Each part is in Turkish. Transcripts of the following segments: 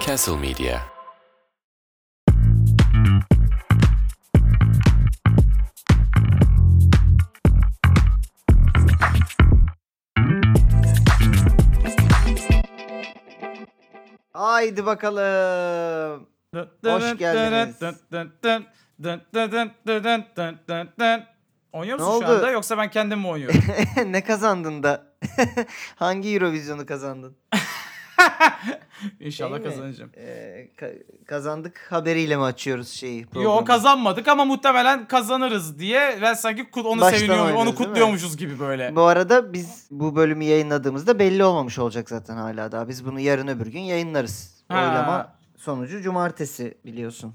Castle Media. Haydi bakalım. Hoş geldiniz. Oynuyor Ne musun şu oldu? anda yoksa ben kendim mi oynuyorum? ne kazandın da? Hangi Eurovision'u kazandın? İnşallah Şey mi? kazanacağım. Ee, ka- kazandık haberiyle mi açıyoruz şeyi? Yo programı? kazanmadık ama muhtemelen kazanırız diye ben sanki kut- onu Baştan seviniyor, oynuyoruz, onu değil mi? kutluyormuşuz gibi böyle. Bu arada biz bu bölümü yayınladığımızda belli olmamış olacak zaten hala daha. Biz bunu yarın öbür gün yayınlarız. Ha. Oylama sonucu cumartesi biliyorsun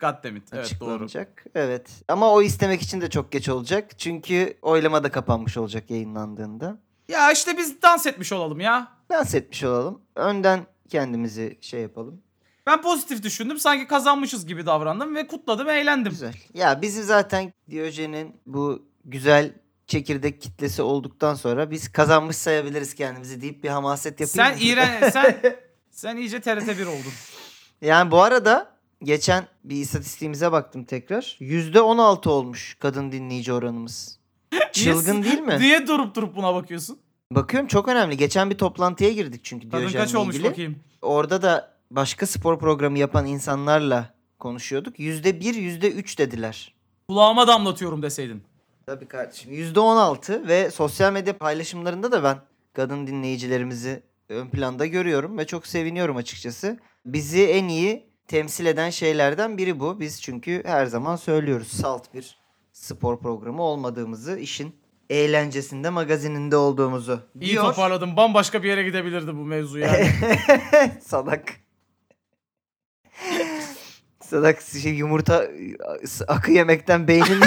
Goddammit. Evet doğru. açıklanacak. Evet ama o istemek için de çok geç olacak. Çünkü oylama da kapanmış olacak yayınlandığında. Ya işte biz dans etmiş olalım ya. Dans etmiş olalım. Önden kendimizi şey yapalım. Ben pozitif düşündüm. Sanki kazanmışız gibi davrandım ve kutladım, eğlendim. Güzel. Ya bizi zaten Diyojen'in bu güzel çekirdek kitlesi olduktan sonra biz kazanmış sayabiliriz kendimizi deyip bir hamaset yapayım. Sen mı? iğren sen sen iyice TRT1 oldun. Yani bu arada geçen bir istatistiğimize baktım tekrar. %16 olmuş kadın dinleyici oranımız. Çılgın değil mi? Niye durup durup buna bakıyorsun? Bakıyorum çok önemli. Geçen bir toplantıya girdik çünkü Kadın Diyojen'le kaç olmuş ilgili. bakayım. Orada da başka spor programı yapan insanlarla konuşuyorduk. %1, %3 dediler. Kulağıma damlatıyorum deseydin. Tabii kardeşim. %16 ve sosyal medya paylaşımlarında da ben kadın dinleyicilerimizi ön planda görüyorum ve çok seviniyorum açıkçası. Bizi en iyi temsil eden şeylerden biri bu. Biz çünkü her zaman söylüyoruz salt bir spor programı olmadığımızı, işin eğlencesinde, magazininde olduğumuzu İyi diyor. toparladım. Bambaşka bir yere gidebilirdi bu mevzu yani. Sadak. Sadak şey, yumurta e, akı yemekten beynin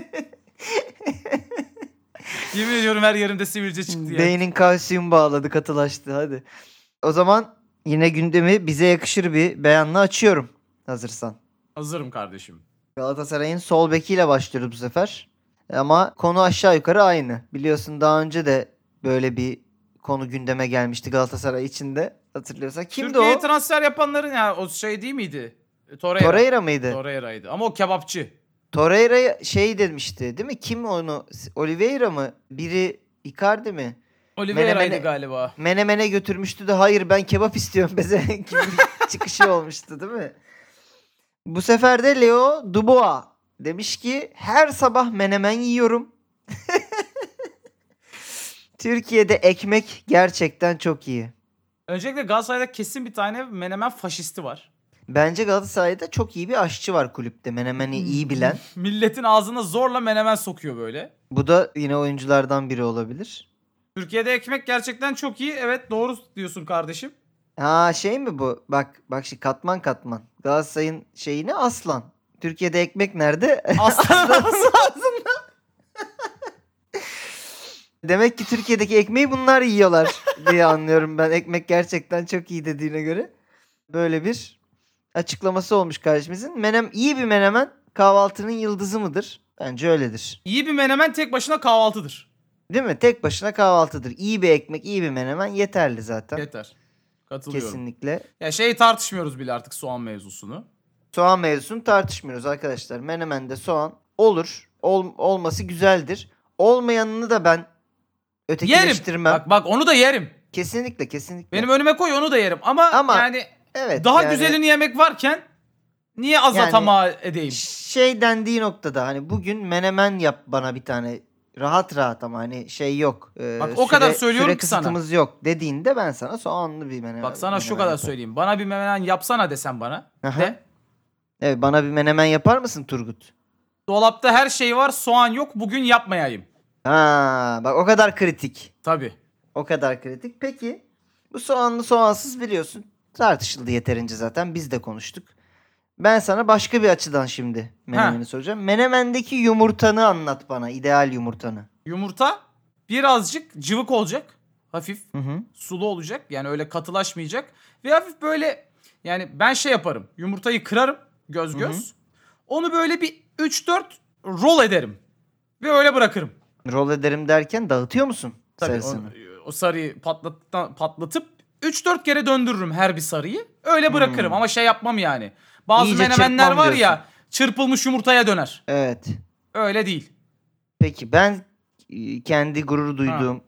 Yemin ediyorum her yerimde sivilce çıktı ya. Beynin kalsiyum bağladı, katılaştı hadi. O zaman yine gündemi bize yakışır bir beyanla açıyorum. Hazırsan. Hazırım kardeşim. Galatasaray'ın sol bekiyle başlıyoruz bu sefer. Ama konu aşağı yukarı aynı. Biliyorsun daha önce de böyle bir konu gündeme gelmişti Galatasaray içinde. Hatırlıyorsan. Kimdi Türkiye'ye o? transfer yapanların ya o şey değil miydi? E, Torreira. Torreira mıydı? Torreira'ydı. Ama o kebapçı. Torreira şey demişti değil mi? Kim onu? Oliveira mı? Biri Icardi mi? Oliveira'ydı Menemene- galiba. Menemen'e götürmüştü de hayır ben kebap istiyorum beze gibi çıkışı olmuştu değil mi? Bu sefer de Leo Dubois demiş ki her sabah menemen yiyorum. Türkiye'de ekmek gerçekten çok iyi. Öncelikle Galatasaray'da kesin bir tane menemen faşisti var. Bence Galatasaray'da çok iyi bir aşçı var kulüpte menemeni iyi bilen. Milletin ağzına zorla menemen sokuyor böyle. Bu da yine oyunculardan biri olabilir. Türkiye'de ekmek gerçekten çok iyi. Evet doğru diyorsun kardeşim. Ha şey mi bu? Bak bak şimdi katman katman. Galatasaray'ın şeyini aslan. Türkiye'de ekmek nerede? Aslında Demek ki Türkiye'deki ekmeği bunlar yiyorlar diye anlıyorum ben. Ekmek gerçekten çok iyi dediğine göre. Böyle bir açıklaması olmuş kardeşimizin. Menem iyi bir menemen kahvaltının yıldızı mıdır? Bence öyledir. iyi bir menemen tek başına kahvaltıdır. Değil mi? Tek başına kahvaltıdır. İyi bir ekmek, iyi bir menemen yeterli zaten. Yeter. Katılıyorum. Kesinlikle. Ya şeyi tartışmıyoruz bile artık soğan mevzusunu. Soğan mevzusunu tartışmıyoruz arkadaşlar. Menemende soğan olur. Ol- olması güzeldir. Olmayanını da ben Yerim. ötekileştirmem. Bak bak onu da yerim. Kesinlikle kesinlikle. Benim önüme koy onu da yerim. Ama, Ama yani evet. daha yani- güzelini yemek varken niye az Yani- atama edeyim? şey dendiği noktada hani bugün menemen yap bana bir tane rahat rahat ama hani şey yok. e, Bak o kadar söylüyorum süre ki sana. kısıtımız yok dediğinde ben sana soğanlı bir menemen. Bak sana şu menemen kadar yaparım. söyleyeyim. Bana bir menemen yapsana desen bana. Aha. De. Evet bana bir menemen yapar mısın Turgut? Dolapta her şey var soğan yok bugün yapmayayım. Ha bak o kadar kritik. Tabii. O kadar kritik. Peki bu soğanlı soğansız biliyorsun tartışıldı yeterince zaten biz de konuştuk. Ben sana başka bir açıdan şimdi menemeni soracağım. Menemendeki yumurtanı anlat bana ideal yumurtanı. Yumurta birazcık cıvık olacak. Hafif Hı hı. sulu olacak. Yani öyle katılaşmayacak. Ve hafif böyle yani ben şey yaparım. Yumurtayı kırarım göz Hı göz. Onu böyle bir 3-4 rol ederim. Ve öyle bırakırım. Rol ederim derken dağıtıyor musun Tabii sarısını? o, o sarıyı patlattıktan- patlatıp 3-4 kere döndürürüm her bir sarıyı. Öyle bırakırım ama şey yapmam yani. Bazı Hmm. İyice menemenler çırpmam var ya çırpılmış yumurtaya döner. Evet. Öyle değil. Peki ben e, kendi gurur duyduğum,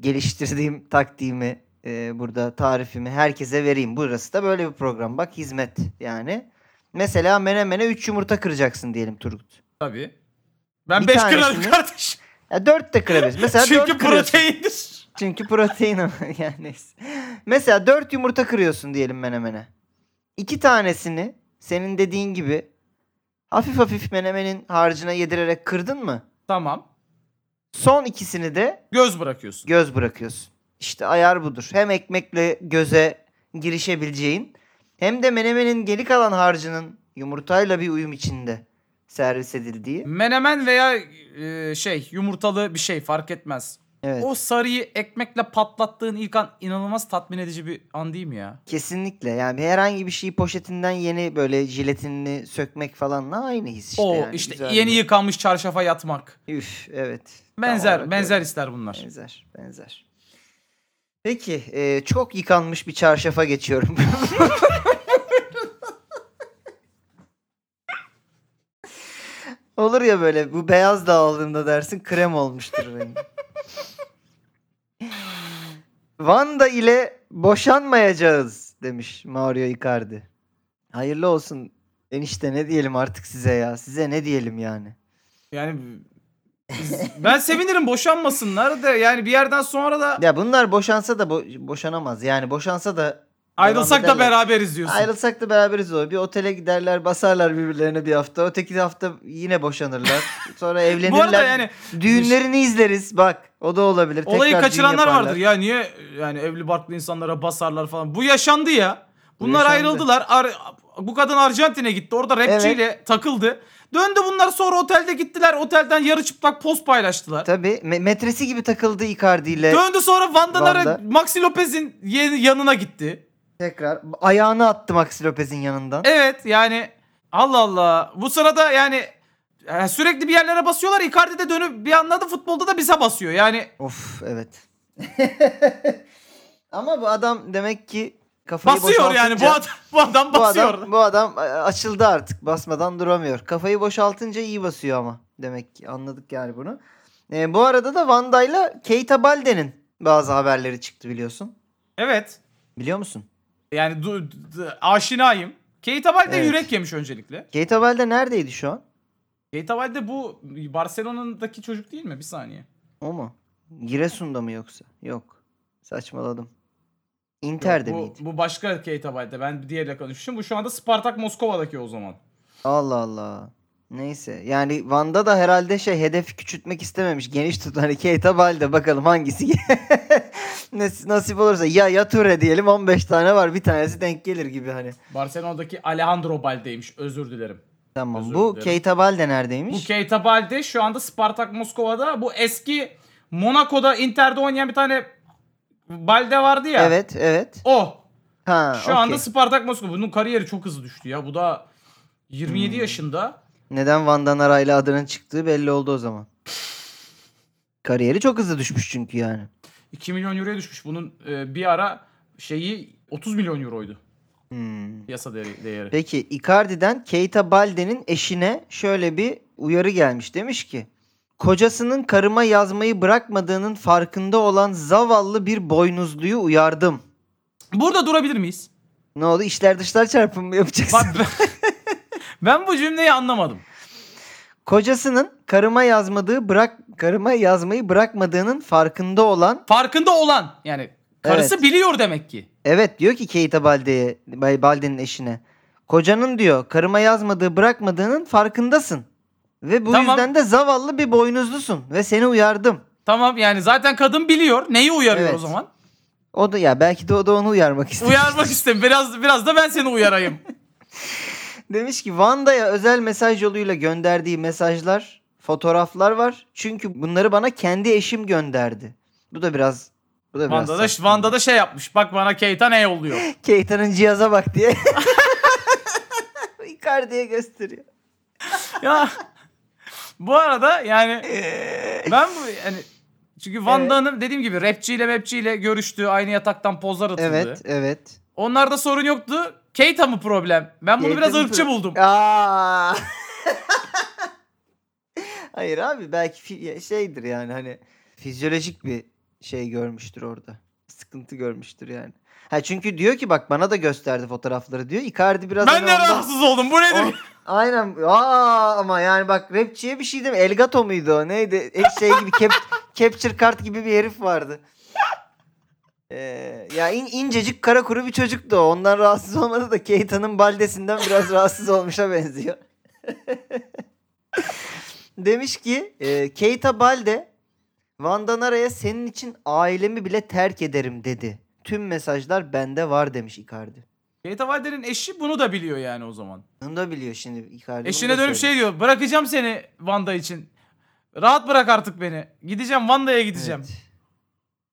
geliştirdiğim taktiğimi e, burada tarifimi herkese vereyim. Burası da böyle bir program. Bak hizmet yani. Mesela menemene 3 yumurta kıracaksın diyelim Turgut. Tabii. Ben Bir 5 kırarım tanesini- kardeş. Ya 4 de kırabilirsin. Mesela dört Çünkü kırıyorsun. proteindir. Çünkü protein ama yani neyse. Mesela 4 yumurta kırıyorsun diyelim menemene. 2 tanesini senin dediğin gibi hafif hafif menemenin harcına yedirerek kırdın mı? Tamam. Son ikisini de Göz bırakıyorsun. göz bırakıyorsun. İşte ayar budur. Hem ekmekle göze girişebileceğin hem de menemenin geri kalan harcının yumurtayla bir uyum içinde servis edildiği. Menemen veya e, şey yumurtalı bir şey fark etmez. Evet. O sarıyı ekmekle patlattığın ilk an inanılmaz tatmin edici bir an değil mi ya? Kesinlikle yani herhangi bir şeyi poşetinden yeni böyle jiletinini sökmek falanla aynı his işte. o yani. işte Güzel yeni bir- yıkanmış çarşafa yatmak. Üf evet. Tam Benzer olarak benzer öyle. ister bunlar. Benzer benzer. Peki e, çok yıkanmış bir çarşafa geçiyorum. Olur ya böyle bu beyaz da aldığımda dersin krem olmuştur benim. Vanda ile boşanmayacağız demiş Mario Icardi. Hayırlı olsun enişte ne diyelim artık size ya. Size ne diyelim yani. Yani ben sevinirim boşanmasınlar da yani bir yerden sonra da Ya bunlar boşansa da bo- boşanamaz. Yani boşansa da ayrılsak da ederler. beraberiz diyorsun. Ayrılsak da beraberiz olur. Bir otele giderler, basarlar birbirlerine bir hafta. Öteki hafta yine boşanırlar. Sonra evlenirler. Bu arada yani Düğünlerini izleriz. Bak o da olabilir. olayı Tekrar düğün kaçıranlar yaparlar. vardır ya niye yani evli barklı insanlara basarlar falan. Bu yaşandı ya. Bu Bunlar yaşandı. ayrıldılar. Ar- bu kadın Arjantin'e gitti. Orada rapçiyle takıldı. Döndü bunlar sonra otelde gittiler. Otelden yarı çıplak poz paylaştılar. Tabii. me- metresi gibi takıldı Icardi ile. Döndü sonra Van Danara Vanda. Maxi Lopez'in ye- yanına gitti. Tekrar. Ayağını attı Maxi Lopez'in yanından. Evet yani Allah Allah. Bu sırada yani e, sürekli bir yerlere basıyorlar. Icardi de dönüp bir anladı futbolda da bize basıyor. Yani Of evet. Ama bu adam demek ki kafayı basıyor yani bu boşaltınca- adam, bu adam bu basıyor. adam, bu adam e, açıldı artık. Basmadan duramıyor. Kafayı boşaltınca iyi basıyor ama. Demek ki anladık yani bunu. E, bu arada da Vanda'yla Keita Balde'nin bazı haberleri çıktı biliyorsun. Evet. Biliyor musun? Yani du- du- aşinayım. Keita Valde Evet. yürek yemiş öncelikle. Keita Balde neredeydi şu an? Keita Valde bu Barcelona'daki çocuk değil mi? Bir saniye. O mu? Giresun'da mı yoksa? Yok. Saçmaladım. Inter'de Yok, miydi? bu, bu başka Keita Valde. Ben diğerle konuşmuşum. Bu şu anda Spartak Moskova'daki o zaman. Allah Allah. Neyse. Yani Van'da da herhalde şey hedefi küçültmek istememiş. Geniş tutan hani Keita Balde bakalım hangisi Nas- nasip olursa ya ya Ture diyelim 15 tane var bir tanesi denk gelir gibi hani. Barcelona'daki Alejandro Balde'ymiş. Özür dilerim. Tamam. Özür bu dilerim. Keita Balde Bu neredeymiş? Keita Balde şu anda Spartak Moskova'da. Bu eski Monaco'da Inter'de oynayan bir tane Balde vardı ya. evet, evet. O. Ha, Şu okey. anda Spartak Moskova. Bunun kariyeri çok hızlı düştü ya. Bu da 27 Hmm. yaşında. neden Van'dan arayla adının çıktığı belli oldu o zaman. Kariyeri çok hızlı düşmüş çünkü yani. 2 milyon euroya düşmüş. Bunun e, bir ara şeyi 30 milyon euroydu Hmm. piyasa değeri. değeri. Peki Icardi'den Keita Balde'nin eşine şöyle bir uyarı gelmiş. Demiş ki kocasının karıma yazmayı bırakmadığının farkında olan zavallı bir boynuzluyu uyardım. Burada durabilir miyiz? Ne oldu işler dışlar çarpımı mı yapacaksın? Bak ben, ben bu cümleyi anlamadım. Kocasının karıma yazmadığı bırak karıma yazmayı bırakmadığının farkında olan Farkında olan yani karısı biliyor demek ki. evet diyor ki Keita Balde'ye Bay- Balde'nin eşine. Kocanın diyor karıma yazmadığı bırakmadığının farkındasın. Ve bu Tamam. yüzden de zavallı bir boynuzlusun ve seni uyardım. Tamam yani zaten kadın biliyor. Neyi uyarıyor o Evet. zaman? O da ya belki de o da onu uyarmak istemiş. Uyarmak istedim. Biraz biraz da ben seni uyarayım. Demiş ki Vanda'ya özel mesaj yoluyla gönderdiği mesajlar, fotoğraflar var. Çünkü bunları bana kendi eşim gönderdi. Bu da biraz bu da biraz Vanda da, saçma. Vanda da şey yapmış. Bak bana E Keita ne yolluyor. Keita'nın cihaza bak diye. Icardi'ye gösteriyor. Ee, ya bu arada yani ben bu yani Çünkü Van Evet. Damme dediğim gibi rapçiyle mapçiyle görüştü. Aynı yataktan pozlar atıldı. Evet, evet. Onlarda sorun yoktu. Keita mı problem? Ben bunu Keita'nın biraz ırkçı pro- buldum. Aa. Hayır abi belki fi- şeydir yani hani fizyolojik bir şey görmüştür orada. Sıkıntı görmüştür yani. Ha çünkü diyor ki bak bana da gösterdi fotoğrafları diyor. Icardi biraz Ben hani de ondan- Oh. rahatsız oldum. Bu nedir? O- Aynen. Aa ama yani bak rapçiye bir şey deme. Elgato muydu o? Neydi? E, şey gibi cap, capture card gibi bir herif vardı. Ee, ya in, incecik kara kuru bir çocuktu o. Ondan rahatsız olmadı da Keita'nın baldesinden biraz rahatsız olmuşa benziyor. Demiş ki e, Keita Balde Van Danara'ya senin için ailemi bile terk ederim dedi. Tüm mesajlar bende var demiş Icardi. Keita Valder'in eşi bunu da biliyor yani o zaman. Bunu da biliyor şimdi Icardi. bunu Eşine da dönüp söylüyor. şey diyor. Bırakacağım seni Van'da için. Rahat bırak artık beni. Gideceğim Vanda'ya gideceğim. Evet.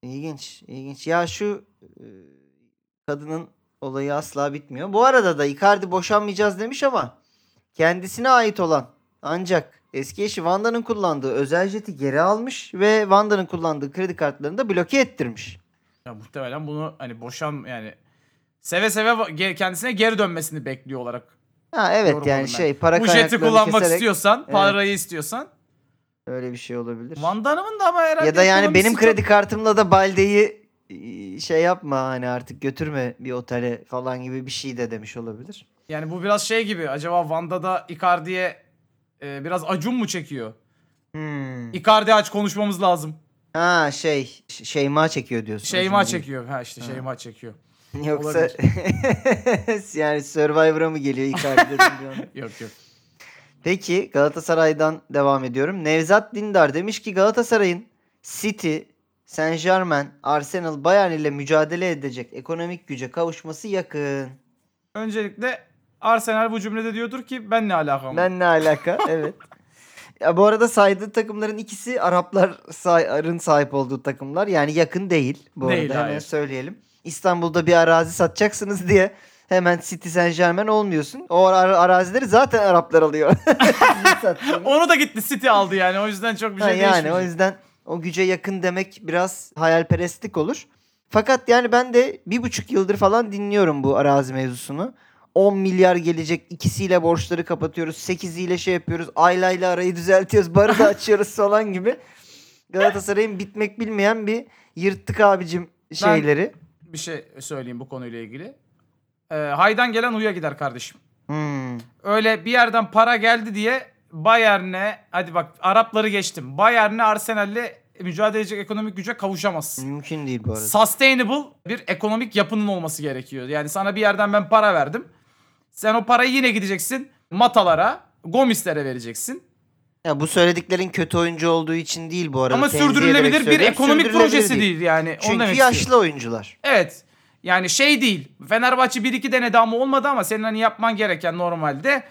İlginç, ilginç. Ya şu e, kadının olayı asla bitmiyor. Bu arada da Icardi boşanmayacağız demiş ama kendisine ait olan ancak eski eşi Vanda'nın kullandığı özel jeti geri almış ve Vanda'nın kullandığı kredi kartlarını da bloke ettirmiş. Ya muhtemelen bunu hani boşan yani seve seve va- ge- kendisine geri dönmesini bekliyor olarak. Ha evet Yorum yani oldum ben. şey para Bu jeti kaynaklarını kullanmak keserek istiyorsan, Evet. parayı istiyorsan. öyle bir şey olabilir. Van Danım'ın da ama herhalde ya da yani benim ekonomisi çok- kredi kartımla da Balde'yi e, şey yapma hani artık götürme bir otele falan gibi bir şey de demiş olabilir. Yani bu biraz şey gibi. Acaba Van'da da Icardi'ye e, biraz acun mu çekiyor? Hmm. Icardi aç konuşmamız lazım. Ha şey Ş- Şeyma çekiyor diyorsun. Şeyma Şimdi- çekiyor. Ha işte Ha. Şeyma çekiyor. Yoksa yani Survivor'a mı geliyor Icardi dedim bir an. Yok yok. Peki Galatasaray'dan devam ediyorum. Nevzat Dindar demiş ki Galatasaray'ın City, Saint Germain, Arsenal, Bayern ile mücadele edecek ekonomik güce kavuşması yakın. Öncelikle Arsenal bu cümlede diyordur ki ben ne alakam? var? Ben ne alaka? evet. Ya bu arada saydığı takımların ikisi Arapların sahip olduğu takımlar. Yani yakın değil. Bu Değil, arada hemen hayır. söyleyelim. İstanbul'da bir arazi satacaksınız diye hemen City Saint Germain olmuyorsun. O ara- arazileri zaten Araplar alıyor. Sizin sattığınız. Onu da gitti City aldı yani. O yüzden çok bir Ha, şey yani değişmeyecek. o yüzden o güce yakın demek biraz hayalperestlik olur. Fakat yani ben de bir buçuk yıldır falan dinliyorum bu arazi mevzusunu. 10 milyar gelecek ikisiyle borçları kapatıyoruz. 8'iyle şey yapıyoruz. Aylayla arayı düzeltiyoruz. Barı da açıyoruz falan gibi. Galatasaray'ın bitmek bilmeyen bir yırttık abicim şeyleri. Bir şey söyleyeyim bu konuyla ilgili. Ee, haydan gelen uya gider kardeşim. Hmm. Öyle bir yerden para geldi diye Bayern'e hadi bak Arapları geçtim. Bayern'e Arsenal'le mücadele edecek ekonomik güce kavuşamazsın. Mümkün değil bu arada. Sustainable bir ekonomik yapının olması gerekiyor. Yani sana bir yerden ben para verdim. Sen o parayı yine gideceksin Matalara, Gomis'lere vereceksin. Ya bu söylediklerin kötü oyuncu olduğu için değil bu arada. Ama Tenzih ederek sürdürülebilir bir söylüyorum. ekonomik Sürdürülebilir projesi değil, yani. Onu Çünkü demek istiyorum. yaşlı oyuncular. Evet. Yani şey değil. Fenerbahçe 1-2 denedi ama olmadı ama senin hani yapman gereken normalde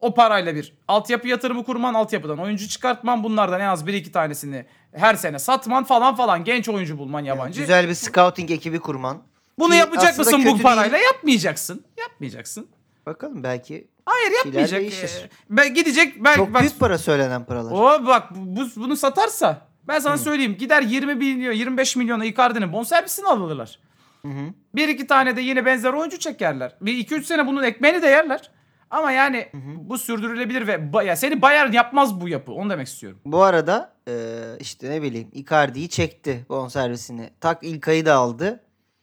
o parayla bir altyapı yatırımı kurman, altyapıdan oyuncu çıkartman, bunlardan en az 1-2 tanesini her sene satman falan falan genç oyuncu bulman yabancı. Güzel bir scouting ekibi kurman. Bunu Ki yapacak aslında mısın bu kötü parayla? değil. Yapmayacaksın. Yapmayacaksın. Bakalım belki Hayır şeyler yapmayacak. değişir. Ee, ben gidecek belki çok bak. büyük para söylenen paralar. O bak bu, bunu satarsa ben sana söyleyeyim gider 20 milyon 25 milyona Icardi'nin bonservisini alırlar. Hı hı. Bir iki tane de yine benzer oyuncu çekerler. Bir iki üç sene bunun ekmeğini de yerler. Ama yani bu sürdürülebilir ve ba- ya seni Bayern yapmaz bu yapı. Onu demek istiyorum. Bu arada e, işte ne bileyim Icardi'yi çekti bonservisini. Tak İlkay'ı da aldı.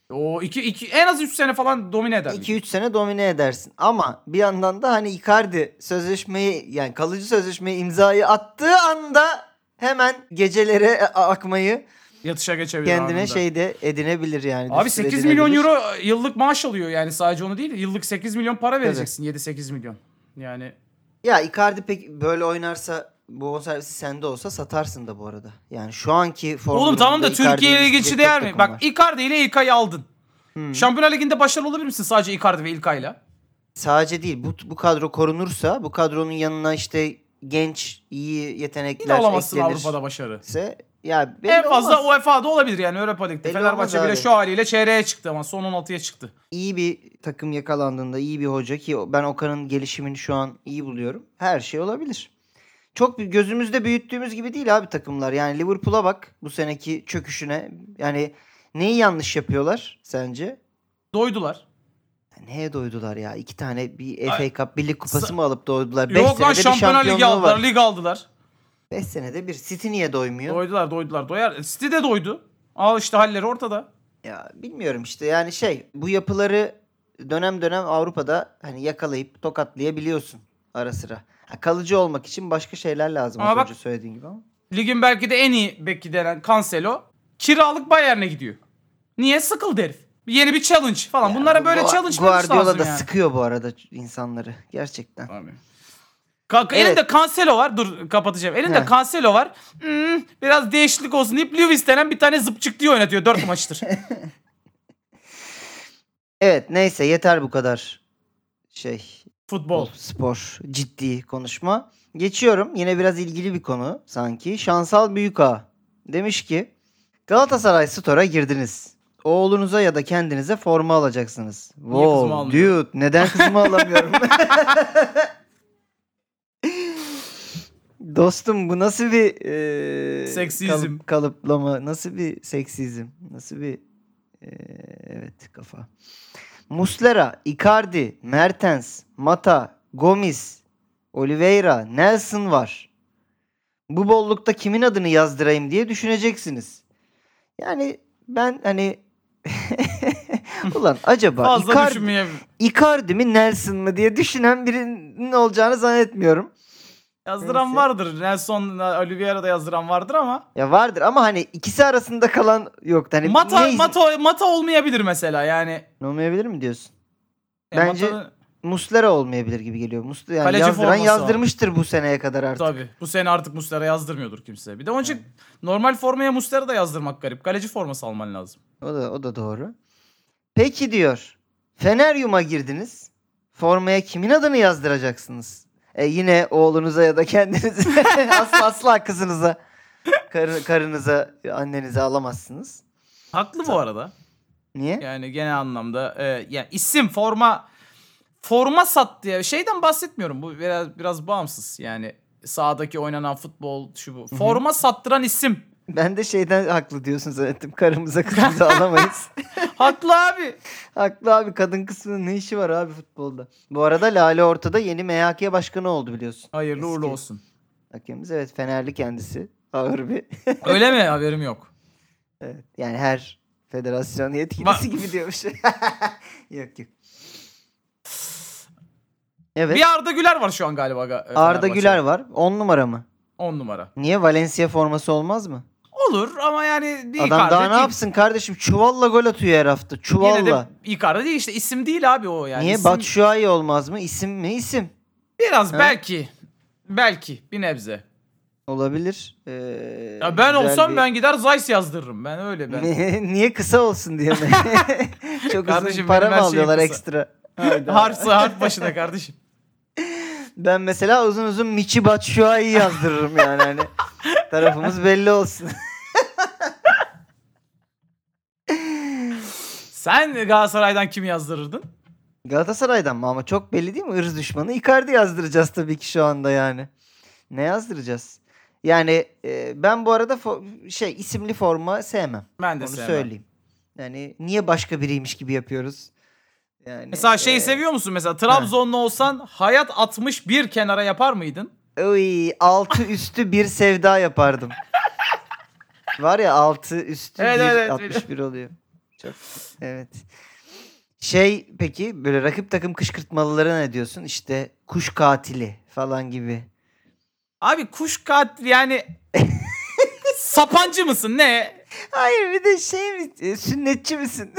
O iki, iki en az 3 sene falan domine eder. 2-3 sene domine edersin. Ama bir yandan da hani Icardi sözleşmeyi yani kalıcı sözleşmeyi imzayı attığı anda hemen gecelere a- akmayı Yatışa geçebilir kendine şey anında. şeyde edinebilir yani. Abi düşür 8 milyon edinebilir. euro e, yıllık maaş alıyor yani sadece onu değil. Yıllık 8 milyon para vereceksin. 7-8 milyon. Yani Ya Icardi pek böyle oynarsa bonservisi sende olsa satarsın da bu arada. Yani şu anki form Oğlum tamam da durumunda Türkiye ile Icardi'nin geçi çok değer mi? takım var. Bak Icardi ile İlkay'ı aldın. Hmm. Şampiyonlar Ligi'nde başarılı olabilir misin sadece Icardi ve İlkay'la? sadece değil bu bu kadro korunursa bu kadronun yanına işte genç iyi Yine yetenekler olamazsın eklenirse Avrupa'da başarı. ya belli en fazla olmaz. UEFA'da olabilir yani Europa Lig'de. Belli Fenerbahçe olmaz bile abi. şu haliyle çeyreğe çıktı ama son 16'ya çıktı. iyi bir takım yakalandığında iyi bir hoca ki ben Okan'ın gelişimini şu an iyi buluyorum. Her şey olabilir. çok bir- gözümüzde büyüttüğümüz gibi değil abi takımlar. Yani Liverpool'a bak bu seneki çöküşüne. Yani neyi yanlış yapıyorlar sence? Doydular. Neye doydular ya? İki tane bir Ay, FA Cup, bir lig kupası sa- mı alıp doydular? Beş Yok lan senede bir Şampiyonlar Ligi şampiyonluğu aldılar. var. Lig aldılar. Beş senede bir. City niye doymuyor? Doydular doydular. Doyar. City de doydu. Al işte halleri ortada. Ya bilmiyorum işte yani şey bu yapıları dönem dönem Avrupa'da hani yakalayıp tokatlayabiliyorsun ara sıra. Ha, kalıcı olmak için başka şeyler lazım Ama az bak- önce söylediğin gibi ama. Ligin belki de en iyi beki denen Cancelo kiralık Bayern'e gidiyor. Niye? Sıkıldı herif. Yeni bir challenge falan. Ya Bunlara bu böyle Gua- challenge vermesi Guardiola lazım da yani. sıkıyor bu arada insanları gerçekten. Abi. Kanka Evet. elinde Cancelo var. Dur kapatacağım. Elinde Heh. Cancelo var. Hmm, biraz değişiklik olsun deyip Lewis denen bir tane zıpçık diye oynatıyor 4 maçtır. Evet neyse yeter bu kadar şey Futbol. spor ciddi konuşma. Geçiyorum yine biraz ilgili bir konu sanki. Şansal Büyükağa demiş ki Galatasaray Store'a girdiniz. Oğlunuza ya da kendinize forma alacaksınız. kızımı Wow, almıyorum? dude neden kızımı alamıyorum? Dostum bu nasıl bir e, Seksizm. kalıp- kalıplama, nasıl bir seksizm, nasıl bir e, evet kafa. Muslera, Icardi, Mertens, Mata, Gomis, Oliveira, Nelson var. Bu bollukta kimin adını yazdırayım diye düşüneceksiniz. Yani ben hani ulan acaba Fazla Icardi- düşünmeyeyim. Icardi mi Nelson mı diye düşünen birinin olacağını zannetmiyorum. Yazdıran Neyse. vardır. Nelson Oliveira'da yazdıran vardır ama. Ya vardır ama hani ikisi arasında kalan yok. Hani Mata, ne- Mata, Mata olmayabilir mesela yani. olmayabilir mi diyorsun? E, Bence- Mata'nın- Muslera olmayabilir gibi geliyor. Muslu yani Kaleci yazdıran forması var. yazdırmıştır bu seneye kadar artık. Tabii. Bu sene artık Muslera yazdırmıyordur kimse. Bir de onun için normal formaya Muslera da yazdırmak garip. Kaleci forması alman lazım. O da o da doğru. Peki diyor. Feneryum'a girdiniz. Formaya kimin adını yazdıracaksınız? E yine oğlunuza ya da kendinize asla asla kızınıza karı- karınıza annenize alamazsınız. Haklı bu arada. Niye? Yani genel anlamda e, yani isim forma forma sat diye şeyden bahsetmiyorum. Bu biraz biraz bağımsız. Yani sahadaki oynanan futbol şu bu. Forma sattıran isim. Ben de şeyden haklı diyorsun zannettim. Karımıza kızımıza alamayız. Haklı abi. haklı abi kadın kısmının ne işi var abi futbolda? Bu arada Lale Orta'da yeni MHK başkanı oldu biliyorsun. Hayırlı uğurlu Eski. olsun. Hakemimiz evet Fenerli kendisi. Ağır bir. Öyle mi? Haberim yok. Evet, yani her federasyon yetkilisi Ba- gibi diyormuş. yok yok. Evet. Bir Arda Güler var şu an galiba. Ga- Arda Fenerbahçe'de. Güler var. 10 numara mı? 10 numara. Niye Valencia forması olmaz mı? Olur ama yani bir Adam Icardi daha ne değil. yapsın kardeşim? Çuvalla gol atıyor her hafta. Çuvalla. Yine de Icardi değil işte isim değil abi o yani. Niye İsim- Batshuayi olmaz mı? İsim mi? İsim. Biraz Ha? belki. Belki bir nebze. Olabilir. Ee, Ya ben güzel olsam bir- ben gider Zeiss yazdırırım. Ben öyle ben. Niye kısa olsun diye mi? Çok uzun Kardeşim, para benim mı her şeyim alıyorlar kısa. ekstra? harf harf başına kardeşim. Ben mesela uzun uzun Michi Batshuayi yazdırırım yani hani. Tarafımız belli olsun. Sen Galatasaray'dan kim yazdırırdın? Galatasaray'dan mı ama çok belli değil mi? Irz düşmanı Icardi yazdıracağız tabii ki şu anda yani. Ne yazdıracağız? Yani e, ben bu arada fo- şey isimli forma sevmem. Ben de Onu sevmem. söyleyeyim. Yani niye başka biriymiş gibi yapıyoruz? Yani Mesela şey şeyi e, seviyor musun? Mesela Trabzonlu olsan hayat 61 kenara yapar mıydın? Oy, altı üstü bir sevda yapardım. Var ya altı üstü Evet, bir, evet, evet, 61 oluyor. Çok evet. Şey peki böyle rakip takım kışkırtmalılara ne diyorsun? İşte kuş katili falan gibi. Abi kuş katil yani sapancı mısın ne? Hayır bir de şey mi? e, Sünnetçi misin?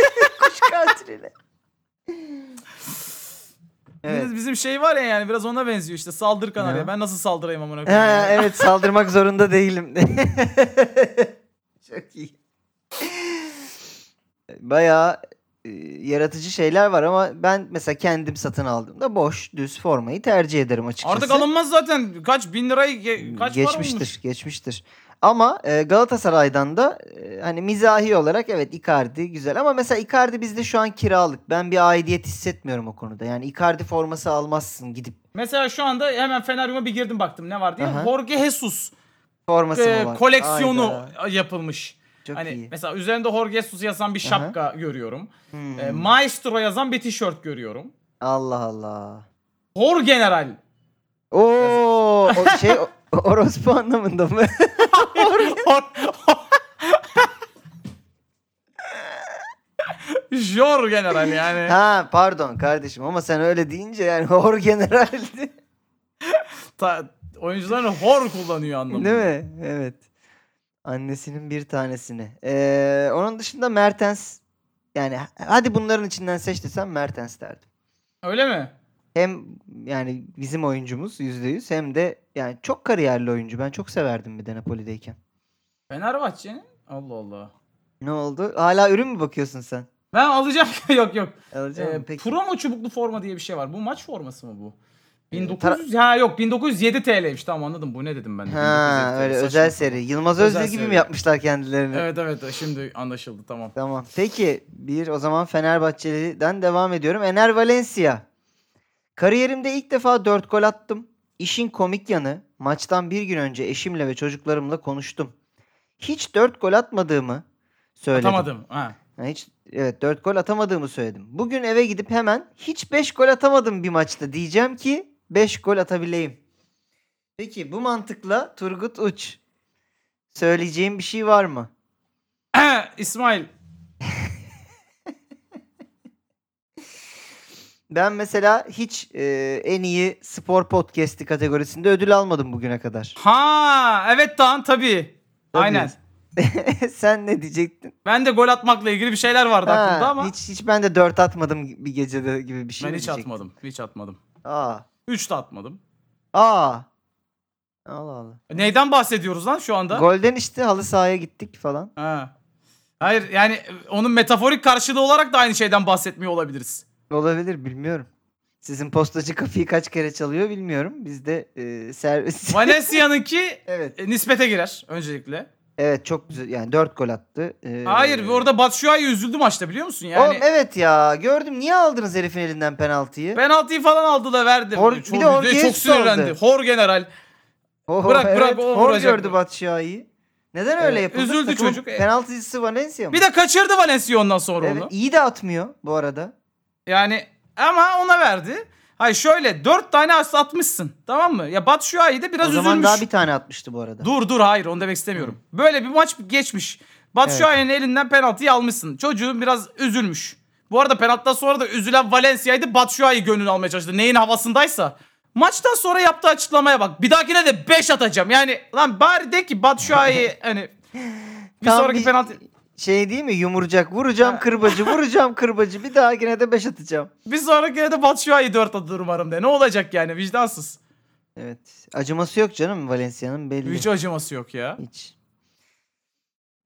kuş katiliyle. Evet. Biraz Bizim şey var ya yani biraz ona benziyor işte saldır kanarya. Ne? Ben nasıl saldırayım amına Ha, koyayım? evet saldırmak zorunda değilim. Çok iyi. Bayağı e, yaratıcı şeyler var ama ben mesela kendim satın aldığımda boş düz formayı tercih ederim açıkçası. Artık alınmaz zaten. Kaç bin lirayı ge- kaç para olmuş? geçmiştir, geçmiştir. Ama e, Galatasaray'dan da e, hani mizahi olarak evet Icardi güzel ama mesela Icardi bizde şu an kiralık. Ben bir aidiyet hissetmiyorum o konuda. Yani Icardi forması almazsın gidip Mesela şu anda hemen Feneryum'a bir girdim baktım ne var diye. Aha. Jorge Jesus forması e, mı var? koleksiyonu Hayda, yapılmış. çok hani iyi. mesela üzerinde Jorge Jesus yazan bir Aha. şapka görüyorum. Hmm, E, Maestro yazan bir tişört görüyorum. Allah Allah. Hor General. Oo o şey o- orospu anlamında mı? Hor- Jor General yani. ha pardon kardeşim ama sen öyle deyince yani hor generaldi. Ta- oyuncuların hor kullanıyor anlamında. Değil mi? Evet. Annesinin bir tanesini. Ee, onun dışında Mertens yani hadi bunların içinden seç desem Mertens derdim. Öyle mi? Hem yani bizim oyuncumuz %100 hem de yani çok kariyerli oyuncu. Ben çok severdim bir de Napoli'deyken. Fenerbahçe'nin? Allah Allah. Ne oldu? Hala ürün mü bakıyorsun sen? Ben alacağım. yok yok. Alacağım Ee, mı? Peki. Promo çubuklu forma diye bir şey var. Bu maç forması mı bu? Ee, 1900 ha yok 1907 TL'ymiş tamam anladım bu ne dedim ben de. 1907 Ha TL, öyle saçma özel sapan. seri. Yılmaz Özel Özdil gibi mi seri. yapmışlar kendilerini? Evet evet şimdi anlaşıldı tamam. Tamam. Peki bir o zaman Fenerbahçeli'den devam ediyorum. Ener Valencia. Kariyerimde ilk defa 4 gol attım. İşin komik yanı maçtan bir gün önce eşimle ve çocuklarımla konuştum. Hiç 4 gol atmadığımı söyledim. Atamadım. Ha. Ha, hiç evet 4 gol atamadığımı söyledim. Bugün eve gidip hemen hiç 5 gol atamadım bir maçta diyeceğim ki 5 gol atabileyim. Peki bu mantıkla Turgut Uç söyleyeceğim bir şey var mı? İsmail Ben mesela hiç e, en iyi spor podcast'i kategorisinde ödül almadım bugüne kadar. Ha evet Dağın tabii. Tabii. Aynen. Sen ne diyecektin? Ben de gol atmakla ilgili bir şeyler vardı Ha, aklımda ama Hiç hiç ben de 4 atmadım gi- bir gecede gibi bir şey. ben mi hiç diyecektin? atmadım. Hiç atmadım. Aa. 3 de atmadım. E, Aa. Allah Allah. Neyden bahsediyoruz lan şu anda? Golden işte halı sahaya gittik falan. Ha. Hayır yani e, onun metaforik karşılığı olarak da aynı şeyden bahsetmiyor olabiliriz. Olabilir bilmiyorum. Sizin postacı kapıyı kaç kere çalıyor bilmiyorum. Bizde e, servis. Valencia'nınki evet. e, nispete girer öncelikle. Evet çok güzel. Yani 4 gol attı. Ee, Hayır orada Batshuayi üzüldü maçta biliyor musun? Yani Oğlum evet ya gördüm. Niye aldınız herifin elinden penaltıyı? penaltıyı falan aldı da verdi. Hor- çok, bir de Jorge çok Jesus sinirlendi. aldı. Hor general. Oho, Bırak, bırak, o Hor vuracak gördü mı? Batshuayi'yi. Neden öyle Evet, yapıldı? üzüldü Takımın çocuk. E- Penaltıcısı Valencia mı? Bir de kaçırdı Valencia ondan sonra evet, onu. iyi de atmıyor bu arada. Yani ama ona verdi. Hayır şöyle dört tane asla atmışsın. Tamam mı? Ya Batshuayi de biraz o zaman üzülmüş. daha bir tane atmıştı bu arada. Dur dur hayır onu demek istemiyorum. Böyle bir maç geçmiş. Batshuayi'nin elinden penaltıyı almışsın. Çocuğun biraz üzülmüş. Bu arada penaltıdan sonra da üzülen Valencia'ydı. Batshuayi gönlünü almaya çalıştı. Neyin havasındaysa. Maçtan sonra yaptığı açıklamaya bak. Bir dahakine de 5 atacağım. Yani lan bari de ki Batshuayi hani bir Tam sonraki bir- penaltı Şey değil mi? Yumurcak vuracağım kırbacı, vuracağım kırbacı. Bir daha yine de 5 atacağım. bir sonrakine de Batshuayi 4 atılır umarım de. Ne olacak yani vicdansız. Evet. Acıması yok canım Valencia'nın belli. Hiç acıması yok ya. Hiç.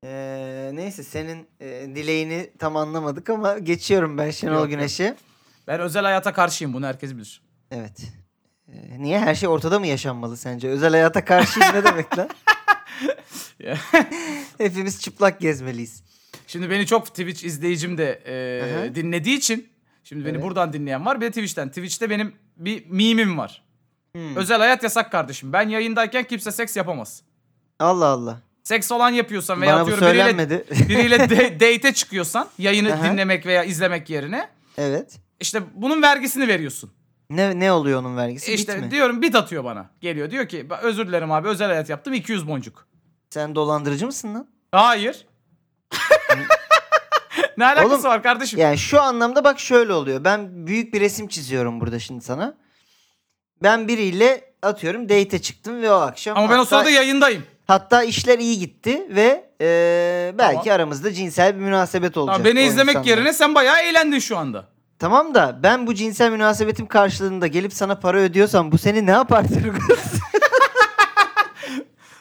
Ee, neyse senin e, dileğini tam anlamadık ama geçiyorum ben Yok, Şenol yok. Güneş'i. Ben özel hayata karşıyım bunu herkes bilir. Evet. Ee, niye her şey ortada mı yaşanmalı sence? Özel hayata karşıyız ne demek lan? Ya. Hepimiz çıplak gezmeliyiz. Şimdi beni çok Twitch izleyicim de e, Aha. dinlediği için şimdi beni Evet. buradan dinleyen var bir de Twitch'ten. Twitch'te benim bir mimim var. Hmm. Özel hayat yasak kardeşim. Ben yayındayken kimse seks yapamaz. Allah Allah. Seks olan yapıyorsan veya Bana bu atıyorum biriyle, söylenmedi. biriyle de- date'e çıkıyorsan yayını Aha. dinlemek veya izlemek yerine evet. işte bunun vergisini veriyorsun. E Ne ne oluyor onun vergisi? Bit işte mi? diyorum bit atıyor bana. Geliyor diyor ki "Ben özür dilerim abi özel hayat yaptım 200 boncuk. Sen dolandırıcı mısın lan? Hayır. ne alakası Oğlum, var kardeşim? Yani şu anlamda bak şöyle oluyor. Ben büyük bir resim çiziyorum burada şimdi sana. Ben biriyle atıyorum date'e çıktım ve o akşam Ama ben o hatta- sırada yayındayım. Hatta işler iyi gitti ve e, belki Tamam. aramızda cinsel bir münasebet olacak. Tamam, beni o izlemek insanla. yerine sen bayağı eğlendin şu anda. Tamam da ben bu cinsel münasebetim karşılığında gelip sana para ödüyorsam bu seni ne yapar Turgut?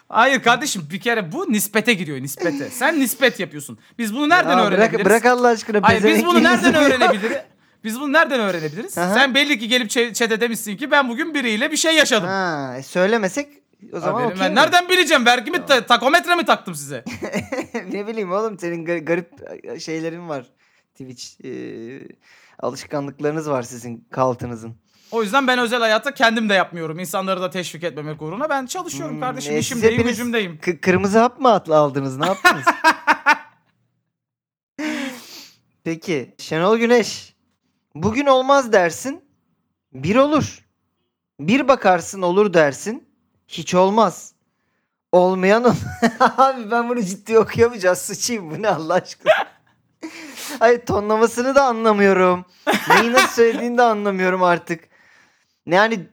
Hayır kardeşim bir kere bu nispete giriyor nispete. Sen nispet yapıyorsun. Biz bunu nereden Aa, öğrenebiliriz? Bırak, bırak Allah aşkına. Hayır biz bunu pezevenkliğinizi nereden bir- öğrenebiliriz? Biz bunu nereden öğrenebiliriz? Aha. Sen belli ki gelip çe- chat'e demişsin ki ben bugün biriyle bir şey yaşadım. Ha, e, söylemesek O zaman Haberim- okey ben mi? nereden bileceğim? Vergi mi ta- takometre mi taktım size? ne bileyim oğlum senin gar- garip e, şeylerin var. Twitch eee, alışkanlıklarınız var sizin kaltınızın. O yüzden ben özel hayatta kendim de yapmıyorum. İnsanları da teşvik etmemek uğruna. Ben çalışıyorum Hmm, kardeşim. e, siz İşimdeyim, hepiniz- gücümdeyim. Kı- kırmızı hap mı atla aldınız? Ne yaptınız? Peki Şenol Güneş. Bugün olmaz dersin. Bir olur. Bir bakarsın olur dersin. Hiç olmaz. Olmayan ol- Abi ben bunu ciddi okuyamayacağız. Sıçayım bu ne Allah aşkına. Hayır tonlamasını da anlamıyorum. Neyi nasıl söylediğini de anlamıyorum artık. Yani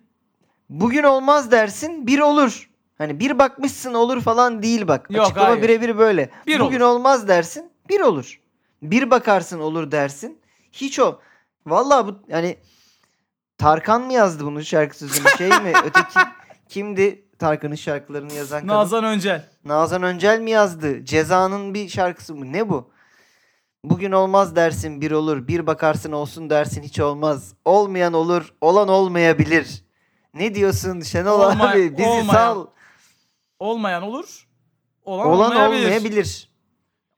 bugün olmaz dersin bir olur. Hani bir bakmışsın olur falan değil bak. Yok, Açıklama hayır. birebir böyle. Bir bugün olmaz dersin bir olur. Bir bakarsın olur dersin. Hiç o. Vallahi bu yani Tarkan mı yazdı bunu şarkı sözünü şey mi? Öteki kimdi Tarkan'ın şarkılarını yazan kadın? Nazan Öncel. Nazan Öncel mi yazdı? Ceza'nın bir şarkısı mı? Ne bu? Bugün olmaz dersin bir olur. Bir bakarsın olsun dersin hiç olmaz. Olmayan olur. Olan olmayabilir. Ne diyorsun Şenol Olma- abi? Bizi olmayan. sal. Olmayan olur. Olan, Olan olmayabilir. olmayabilir.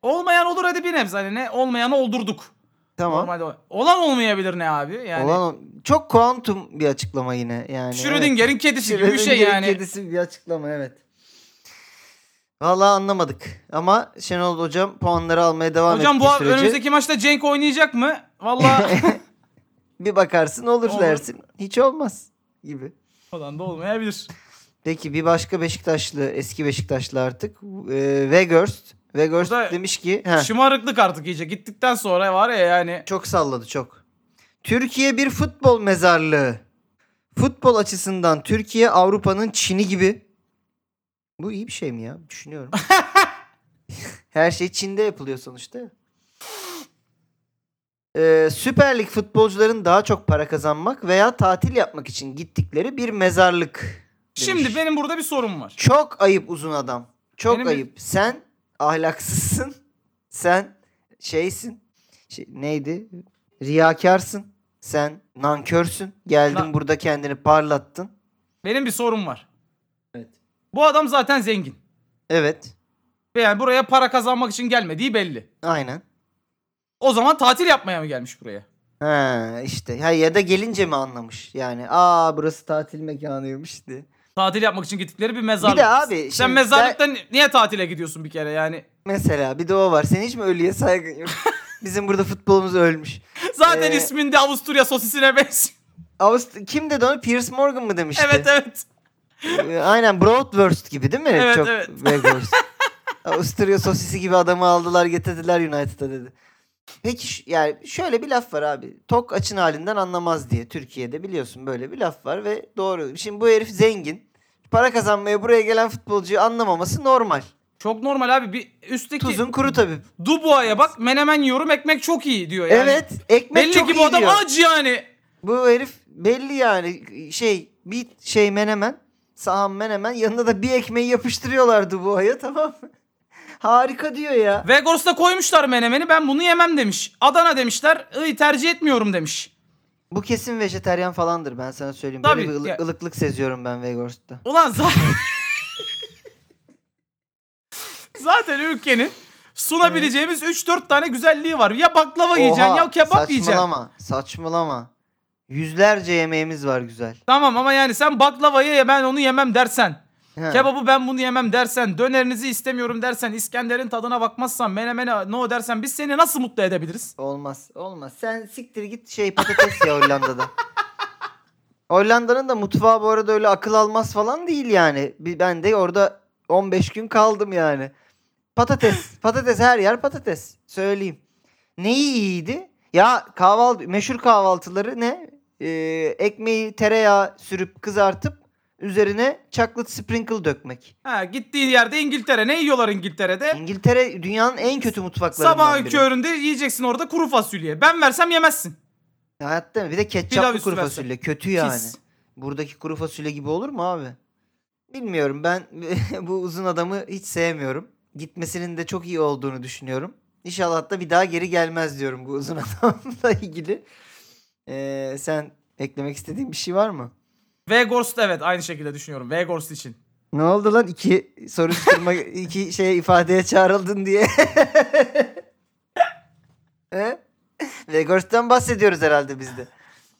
Olmayan olur hadi bir nebze. Hani ne? Olmayanı oldurduk. Tamam. Normalde o- olan olmayabilir ne abi? Yani Olan ol- çok kuantum bir açıklama yine yani. evet. Schrödinger'in kedisi gibi bir şey Schrödinger'in yani. kedisi bir açıklama evet. Vallahi anlamadık. Ama Şenol hocam puanları almaya devam Hocam bu ettiği sürece önümüzdeki maçta Cenk oynayacak mı? Valla bir bakarsın Olur. olur dersin. Hiç olmaz gibi. falan da olmayabilir. Peki bir başka Beşiktaşlı, eski Beşiktaşlı artık. E, Weghorst. Weghorst Bu da- demiş ki... Heh, Şımarıklık artık iyice. Gittikten sonra var ya yani. çok salladı çok. Türkiye bir futbol mezarlığı. Futbol açısından Türkiye Avrupa'nın Çin'i gibi. Bu iyi bir şey mi ya? Düşünüyorum. Her şey Çin'de yapılıyor sonuçta. Ee, Süper Lig futbolcuların daha çok para kazanmak veya tatil yapmak için gittikleri bir mezarlık. demiş. Şimdi benim burada bir sorum var. Çok ayıp uzun adam. Çok Benim- ayıp. Sen ahlaksızsın. Sen şeysin. Şey, neydi? Riyakarsın. Sen nankörsün. Geldin Na- burada kendini parlattın. Benim bir sorum var. Evet. Bu adam zaten zengin. Evet. Yani buraya para kazanmak için gelmediği belli. Aynen. O zaman tatil yapmaya mı gelmiş buraya? Ha işte. Ha, ya da gelince mi anlamış? Yani aa burası tatil mekanıymış diye. Tatil yapmak için gittikleri bir mezarlık. Bir de abi. Sen şimdi mezarlıkta ni- niye tatile gidiyorsun bir kere yani? ben- mesela bir de o var. Senin hiç mi ölüye saygın yok? Bizim burada futbolumuz ölmüş. Zaten Ee, isminde Avusturya sosisine benziyor. Avust kim dedi onu? Piers Morgan mı demişti? evet evet. Ee, Aynen Broadwurst gibi değil mi? Evet, Çok evet. Weghorst. Avusturya sosisi gibi adamı aldılar getirdiler United'a dedi. Peki ş- yani şöyle bir laf var abi. Tok açın halinden anlamaz diye Türkiye'de biliyorsun böyle bir laf var ve doğru. Şimdi bu herif zengin. Para kazanmaya buraya gelen futbolcuyu anlamaması normal. Çok normal abi. Bir üstteki Tuzun kuru tabii. Dubois'a bak menemen yiyorum ekmek çok iyi diyor yani. evet, ekmek Belli çok ki iyi bu adam diyor. aç yani. Bu herif belli yani şey bir şey menemen sahan menemen yanında da bir ekmeği yapıştırıyorlardı bu aya tamam mı? Harika diyor ya. Vegors'ta koymuşlar menemeni ben bunu yemem demiş. Adana demişler "Iy, tercih etmiyorum demiş. Bu kesin vejeteryan falandır ben sana söyleyeyim. Tabii, Böyle bir ılık- ya- ılıklık seziyorum ben Vegors'ta. Ulan zaten... zaten ülkenin sunabileceğimiz 3-4 tane güzelliği var. Ya baklava yiyeceksin ya kebap saçmalama, yiyeceksin. Saçmalama saçmalama. Yüzlerce yemeğimiz var güzel. Tamam ama yani sen baklavayı ye ben onu yemem dersen. He. Kebabı ben bunu yemem dersen, dönerinizi istemiyorum dersen, İskender'in tadına bakmazsan, menemene no dersen biz seni nasıl mutlu edebiliriz? Olmaz olmaz. Sen siktir git şey patates ya Hollanda'da. Hollanda'nın da mutfağı bu arada öyle akıl almaz falan değil yani. Bir- Ben de orada 15 gün kaldım yani. Patates. patates her yer patates. Söyleyeyim. Neyi iyiydi? Ya kahvaltı meşhur kahvaltıları ne? Ee, ekmeği tereyağı sürüp kızartıp üzerine chocolate sprinkle dökmek. Ha, gittiğin yerde İngiltere. Ne yiyorlar İngiltere'de? İngiltere dünyanın en kötü mutfaklarından Sabahın biri. köründe yiyeceksin orada kuru fasulye. Ben versem yemezsin. Hayatta bir de Pilav ketçaplı üstü kuru versen. fasulye kötü Pis. yani. Buradaki kuru fasulye gibi olur mu abi? Bilmiyorum ben bu uzun adamı hiç sevmiyorum. Gitmesinin de çok iyi olduğunu düşünüyorum. İnşallah da bir daha geri gelmez diyorum bu uzun adamla ilgili. Ee, sen eklemek istediğin bir şey var mı? Weghorst evet aynı şekilde düşünüyorum. Weghorst için. Ne oldu lan? İki soruşturma, iki şey ifadeye çağrıldın diye. He? Vegors'tan bahsediyoruz herhalde biz de.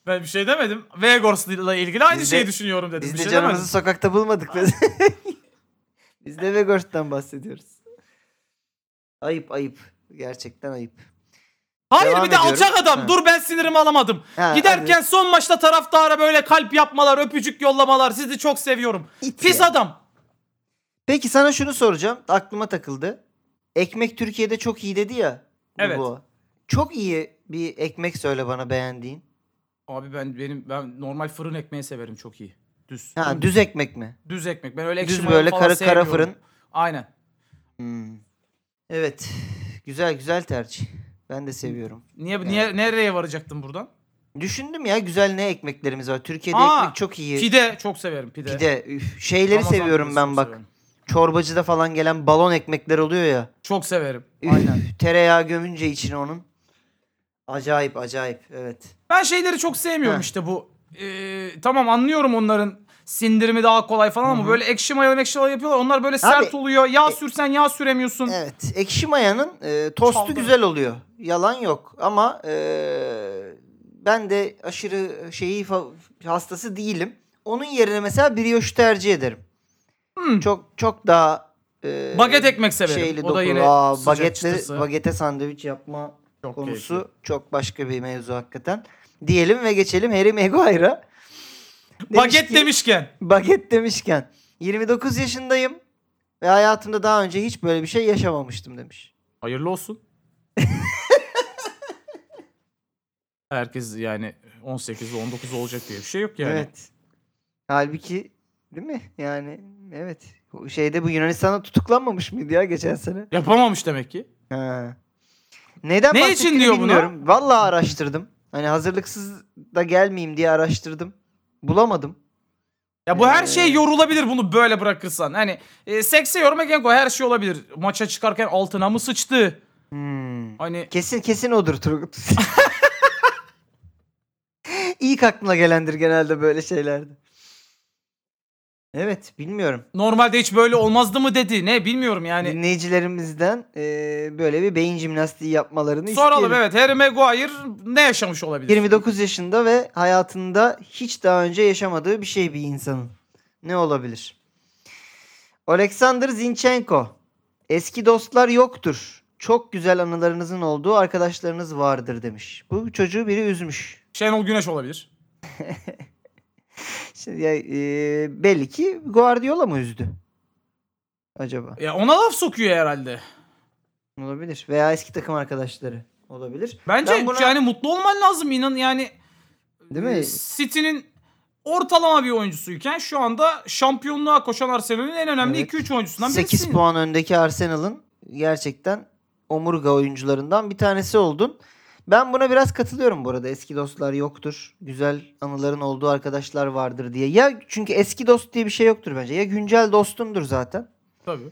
Ben bir şey demedim. Vegors'la ilgili aynı Biz de- şeyi düşünüyorum dedim. Biz Bir de şey canımızı demedim. sokakta bulmadık. Biz. biz de Vegors'tan bahsediyoruz. Ayıp ayıp. Gerçekten ayıp. Hayır Devam bir de ediyorum. alçak adam. Ha. Dur ben sinirimi alamadım. Ha, Giderken son maçta taraftara böyle kalp yapmalar, öpücük yollamalar. Sizi çok seviyorum. hadi. İt Pis ya. adam. Peki sana şunu soracağım. Aklıma takıldı. Ekmek Türkiye'de çok iyi dedi ya. Evet. Bu. Çok iyi bir ekmek söyle bana beğendiğin. Abi ben benim ben normal fırın ekmeği severim çok iyi. Düz. Ha düz ekmek mi? Düz ekmek. Ben öyle ekşi Düz mayalı böyle falan kara kara sevmiyorum. fırın. Aynen. Hmm. Evet. Güzel güzel tercih. Ben de seviyorum. Niye niye nereye varacaktım buradan? Düşündüm ya güzel ne ekmeklerimiz var. Türkiye'de Aa, ekmek çok iyi. Pide çok severim pide. Pide. üf, Şeyleri Ramazan seviyorum pidesi ben çok bak. severim. Çorbacıda falan gelen balon ekmekler oluyor ya. Çok severim. Üf, Aynen. Tereyağı gömünce içine onun. Acayip acayip evet. Ben şeyleri çok sevmiyorum Heh. işte bu. Ee, tamam anlıyorum onların sindirimi daha kolay falan ama Hı hı. böyle ekşi mayalı ekşi mayalı yapıyorlar. Onlar böyle sert oluyor. Yağ e- sürsen yağ süremiyorsun. Evet. Ekşi mayanın e, tostu Çaldı. güzel oluyor. Yalan yok. Ama e, ben de aşırı şeyi fa- hastası değilim. Onun yerine mesela brioche tercih ederim. Hmm. Çok çok daha e, Baget ekmek severim. şeyli o da dokulu. yine Aa, sıcak bagetle, çıtısı. bagete sandviç yapma Çok konusu keyifli. çok başka bir mevzu hakikaten. Diyelim ve geçelim Harry Maguire'a. Demiş Baget ki- demişken. Baget demişken 29 yaşındayım ve hayatımda daha önce hiç böyle bir şey yaşamamıştım demiş. Hayırlı olsun. Herkes yani 18 ve 19 olacak diye bir şey yok yani. Evet. Halbuki değil mi? Yani evet. O Şeyde bu Yunanistan'da tutuklanmamış mıydı ya geçen sene? Yapamamış demek ki. Ha. Neden Ne için bahsettiğini diyor bunu? bilmiyorum. Vallahi araştırdım. Hani hazırlıksız da gelmeyeyim diye araştırdım. Bulamadım. Ya bu her Ee, şey yorulabilir bunu böyle bırakırsan. Hani e, sekse yormak en kolay her şey olabilir. Maça çıkarken altına mı sıçtı? Hmm. Hani Kesin kesin odur Turgut. İlk aklına gelendir genelde böyle şeylerde. Evet bilmiyorum. normalde hiç böyle olmazdı mı dedi. Ne bilmiyorum yani. Dinleyicilerimizden eee, böyle bir beyin jimnastiği yapmalarını Soralım isteyelim. evet Harry Maguire ne yaşamış olabilir? 29 yaşında ve hayatında hiç daha önce yaşamadığı bir şey bir insanın. Ne olabilir? Alexander Zinchenko. Eski dostlar yoktur. Çok güzel anılarınızın olduğu arkadaşlarınız vardır demiş. Bu çocuğu biri üzmüş. Şenol Güneş olabilir. Şimdi ya, e, belli ki Guardiola mı üzdü? Acaba. Ya ona laf sokuyor herhalde. Olabilir. Veya eski takım arkadaşları olabilir. Bence Ben buna- yani mutlu olman lazım inan yani. Değil mi? Ee, City'nin ortalama bir oyuncusuyken şu anda şampiyonluğa koşan Arsenal'in en önemli Evet. 2-3 oyuncusundan 8 birisin. puan öndeki Arsenal'ın gerçekten omurga oyuncularından bir tanesi oldun. Ben buna biraz katılıyorum bu arada. Eski dostlar yoktur. Güzel anıların olduğu arkadaşlar vardır diye. Ya çünkü eski dost diye bir şey yoktur bence. Ya güncel dostundur zaten. Tabii.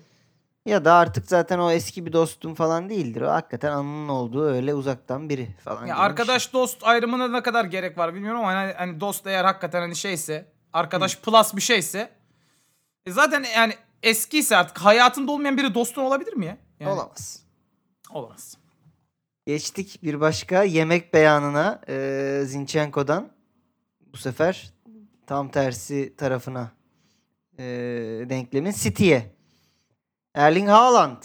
Ya da artık zaten o eski bir dostun falan değildir. O hakikaten anının olduğu öyle uzaktan biri falan. gibi bir Ya şey. arkadaş dost ayrımına ne kadar gerek var bilmiyorum ama hani, hani dost eğer hakikaten hani şeyse arkadaş plus bir şeyse e zaten yani eskiyse artık hayatında olmayan biri dostun olabilir mi ya? Yani, Olamaz. Olamaz. Geçtik bir başka yemek beyanına eee Zinchenko'dan. Bu sefer tam tersi tarafına eee, denklemin City'ye. Erling Haaland.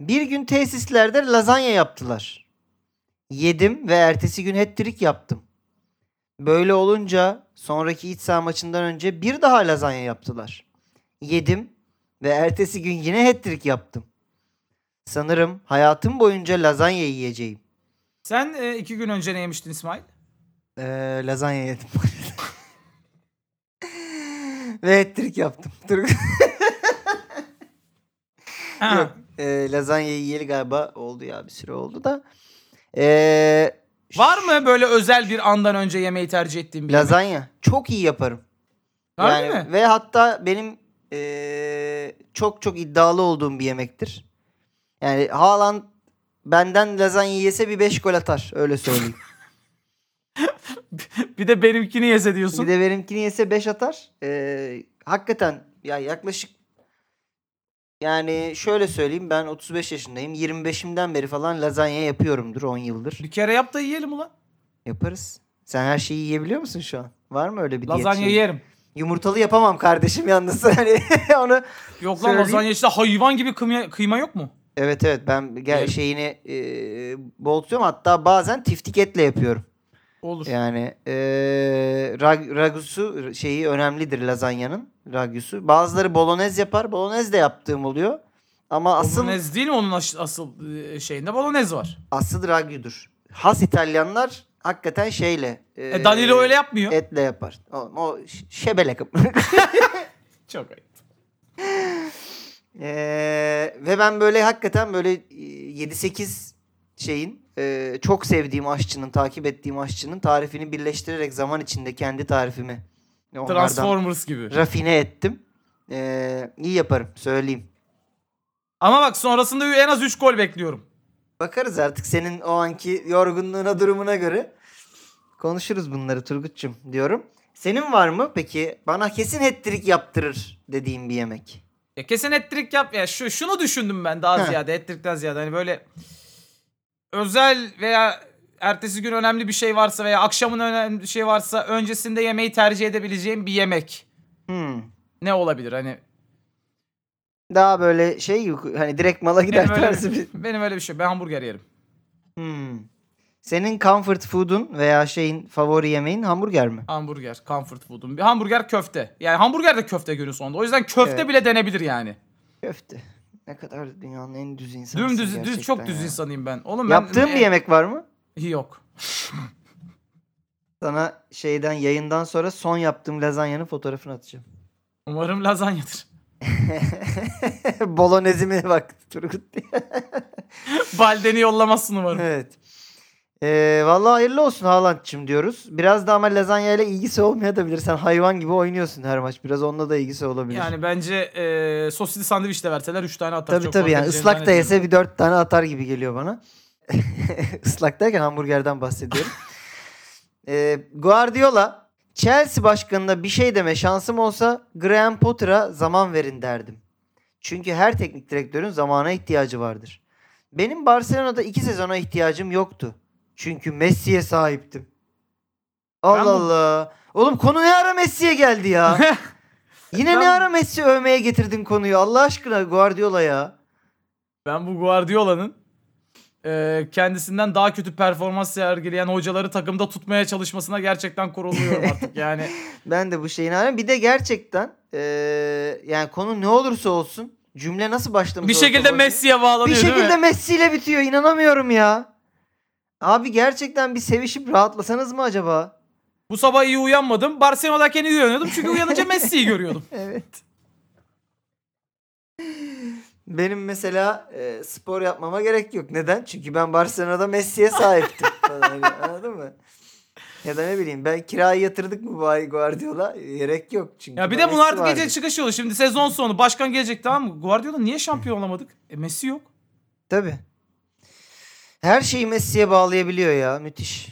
Bir gün tesislerde lazanya yaptılar. Yedim ve ertesi gün hat-trick yaptım. Böyle olunca sonraki iç saha maçından önce bir daha lazanya yaptılar. Yedim ve ertesi gün yine hat-trick yaptım. Sanırım hayatım boyunca lazanya yiyeceğim. Sen e, iki gün önce ne yemiştin İsmail? Ee, lazanya yedim. Ve ettirik yaptım. Dur. Yok, ee, lazanya yiyeli galiba oldu ya bir süre oldu da. Ee, Var mı böyle özel bir andan önce yemeği tercih ettiğin bir yemek? lazanya çok iyi yaparım. Harbi Yani mi? Ve hatta benim ee, çok çok iddialı olduğum bir yemektir. Yani Haaland benden lazanya yese bir 5 gol atar öyle söyleyeyim. Bir de benimkini yese diyorsun. Bir de benimkini yese 5 atar. Ee, hakikaten ya yaklaşık yani şöyle söyleyeyim ben 35 yaşındayım. 25'imden beri falan lazanya yapıyorumdur 10 yıldır. Bir kere yap da yiyelim ulan. Yaparız. Sen her şeyi yiyebiliyor musun şu an? Var mı öyle bir diyet Lazanya şeyi? yerim. Yumurtalı yapamam kardeşim yalnız. Hani onu Yok lan Söyleyeyim. lazanya içinde hayvan gibi kıyma, kıyma yok mu? Evet evet ben gel Evet. şeyini e, bol tutuyorum. Hatta bazen tiftik etle yapıyorum. Olur. Yani e, rag- ragusu şeyi önemlidir lazanyanın ragusu. Bazıları bolonez yapar. Bolonez de yaptığım oluyor. Ama asıl Bolonez değil mi onun aş- asıl e, şeyinde? Bolonez var. asıl ragudur. Has İtalyanlar hakikaten şeyle. E, Danilo öyle yapmıyor. Etle yapar. O, o ş- şebele kap- Çok ayıp. Ee, ve ben böyle hakikaten böyle e, 7-8 şeyin e, çok sevdiğim aşçının, takip ettiğim aşçının tarifini birleştirerek zaman içinde kendi tarifimi onlardan Transformers gibi. rafine ettim. Ee, iyi yaparım söyleyeyim. Ama bak sonrasında en az 3 gol bekliyorum. Bakarız artık senin o anki yorgunluğuna, durumuna göre. Konuşuruz bunları Turgut'cum diyorum. Senin var mı peki bana kesin hat-trick yaptırır dediğin bir yemek? Ya kesin ettirik yap. Ya şu şunu düşündüm ben daha Heh. ziyade ettirikten ziyade hani böyle özel veya ertesi gün önemli bir şey varsa veya akşamın önemli bir şey varsa öncesinde yemeği tercih edebileceğim bir yemek Hmm. ne olabilir hani Daha böyle şey gibi, hani direkt mala gider benim öyle, tarzı bir benim öyle bir şey ben hamburger yerim. Hmm. Senin comfort food'un veya şeyin favori yemeğin hamburger mi? Hamburger, comfort food'um. Bir hamburger köfte. Yani hamburger de köfte günü sonunda. O yüzden köfte Evet. bile denebilir yani. Köfte. Ne kadar dünyanın en düz insanı. Dümdüz, düz, çok düz insanıyım ben. Oğlum ben... Yaptığın bir yemek var mı? Yok. Sana şeyden yayından sonra son yaptığım lazanyanın fotoğrafını atacağım. Umarım lazanyadır. Bolonezimi bak Turgut diye. Baldeni yollamazsın umarım. evet. Ee, vallahi hayırlı olsun Haaland'cığım diyoruz. Biraz da ama lazanya ile ilgisi olmayabilir. Sen hayvan gibi oynuyorsun her maç. Biraz onunla da ilgisi olabilir. Yani bence e, sosisli sandviç de verseler 3 tane atar. Tabii Çok tabii fark yani edeceğini ıslak da zannetmiyorum. yese bir dört tane atar gibi geliyor bana. Islak derken hamburgerden bahsediyorum. Ee, Guardiola Chelsea başkanına bir şey deme şansım olsa Graham Potter'a zaman verin derdim. Çünkü her teknik direktörün zamana ihtiyacı vardır. Benim Barcelona'da iki sezona ihtiyacım yoktu. Çünkü Messi'ye sahiptim. Allah bu- Allah. Oğlum konu ne ara Messi'ye geldi ya? Yine ne Ben- ara Messi övmeye getirdin konuyu Allah aşkına Guardiola ya. Ben bu Guardiola'nın e, kendisinden daha kötü performans sergileyen hocaları takımda tutmaya çalışmasına gerçekten kuruluyorum artık. Yani Ben de bu şeyin hala bir de gerçekten eee, yani konu ne olursa olsun cümle nasıl başlamış bir olursa şekilde başlasın, Messi'ye bir bağlanıyor değil şekilde mi? Messi ile bitiyor inanamıyorum ya. Abi gerçekten bir sevişip rahatlasanız mı acaba? Bu sabah iyi uyanmadım. Barcelona'dayken iyi uyanıyordum. Çünkü uyanınca Messi'yi görüyordum. Evet. Benim mesela eee, spor yapmama gerek yok. Neden? Çünkü ben Barcelona'da Messi'ye sahiptim. falan. Hani Anladın mı? Ya da ne bileyim ben kirayı yatırdık mı Bay Guardiola? Gerek yok çünkü. Ya bir ben de bunun Messi artık gece vardı. çıkış yolu. Şimdi sezon sonu başkan gelecek tamam mı? Guardiola niye şampiyon olamadık? E Messi yok. Tabii. Her şeyi Messi'ye bağlayabiliyor ya. Müthiş.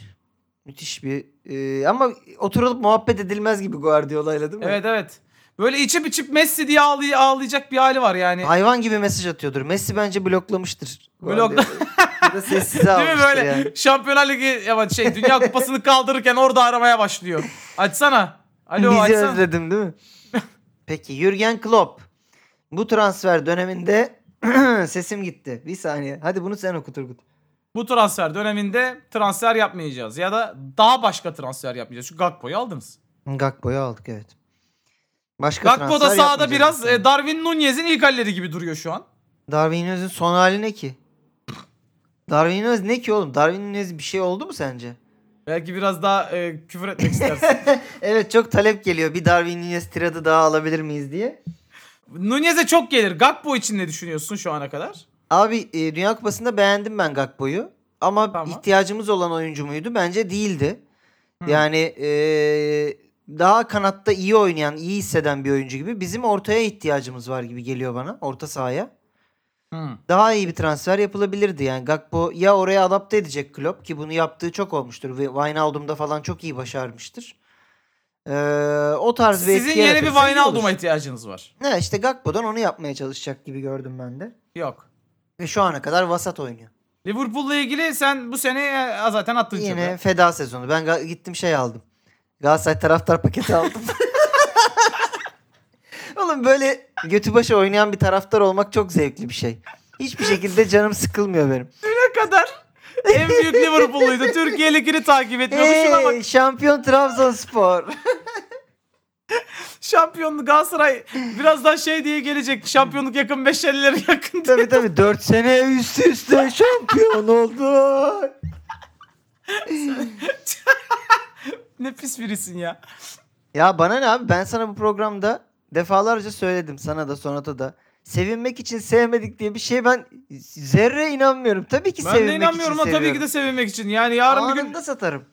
Müthiş bir e, ama oturulup muhabbet edilmez gibi Guardiola'yla değil mi? Evet evet. Böyle içip içip Messi diye ağlay- ağlayacak bir hali var yani. Hayvan gibi mesaj atıyordur. Messi bence bloklamıştır. Blokla- Guardiola'yı. ya da sessize Değil almıştır mi böyle? yani. Şampiyonlar Ligi ya bak şey Dünya Kupası'nı kaldırırken orada aramaya başlıyor. Açsana. Alo Bizi açsana. özledim değil mi? Peki Jürgen Klopp. Bu transfer döneminde sesim gitti. Bir saniye. Hadi bunu sen oku Turgut. Bu transfer döneminde transfer yapmayacağız ya da daha başka transfer yapmayacağız. Çünkü Gakpo'yu aldınız. Gakpo'yu aldık evet. Başka Gakpo da transfer sahada yapmayacağız biraz bu e, Darwin Nunez'in ilk halleri gibi duruyor şu an. Darwin Nunez'in son hali ne ki? Darwin Nunez ne ki oğlum? Darwin Nunez bir şey oldu mu sence? Belki biraz daha e, küfür etmek istersin. evet çok talep geliyor. Bir Darwin Nunez tiradı daha alabilir miyiz diye. Nunez'e çok gelir. Gakpo için ne düşünüyorsun şu ana kadar? Abi e, Dünya Kupası'nda beğendim ben Gakpo'yu. Ama Tamam. ihtiyacımız olan oyuncu muydu? Bence değildi. Hı. Yani e, daha kanatta iyi oynayan, iyi hisseden bir oyuncu gibi bizim ortaya ihtiyacımız var gibi geliyor bana. Orta sahaya. Hmm. daha iyi bir transfer yapılabilirdi. Yani Gakpo ya oraya adapte edecek Klopp ki bunu yaptığı çok olmuştur. Ve Wijnaldum'da falan çok iyi başarmıştır. Ee, o tarz bir etki Sizin yeni bir yaratırsa iyi olur. Wijnaldum'a ihtiyacınız var. Ne işte Gakpo'dan onu yapmaya çalışacak gibi gördüm ben de. Yok. Ve şu ana kadar vasat oynuyor. Liverpool'la ilgili sen bu sene e, zaten attın Yine çöpe. feda sezonu. Ben ga- gittim şey aldım. Galatasaray taraftar paketi aldım. Oğlum böyle götü başı oynayan bir taraftar olmak çok zevkli bir şey. Hiçbir şekilde canım sıkılmıyor benim. Ne kadar en büyük Liverpool'luydu. Türkiye Ligi'ni takip etmiyordu. Şuna bak Hey, şampiyon Trabzonspor. şampiyonluk Galatasaray birazdan şey diye gelecek. Şampiyonluk yakın beşerlilere yakın diye. tabii tabii 4 sene üst üste şampiyon oldu. Ne pis birisin ya. Ya bana ne abi ben sana bu programda defalarca söyledim sana da Sonata da. Sevinmek için sevmedik diye bir şey ben zerre inanmıyorum. Tabii ki Ben sevinmek de inanmıyorum için ama tabii seviyorum. ki de sevinmek için. Yani yarın bir gün Anında satarım.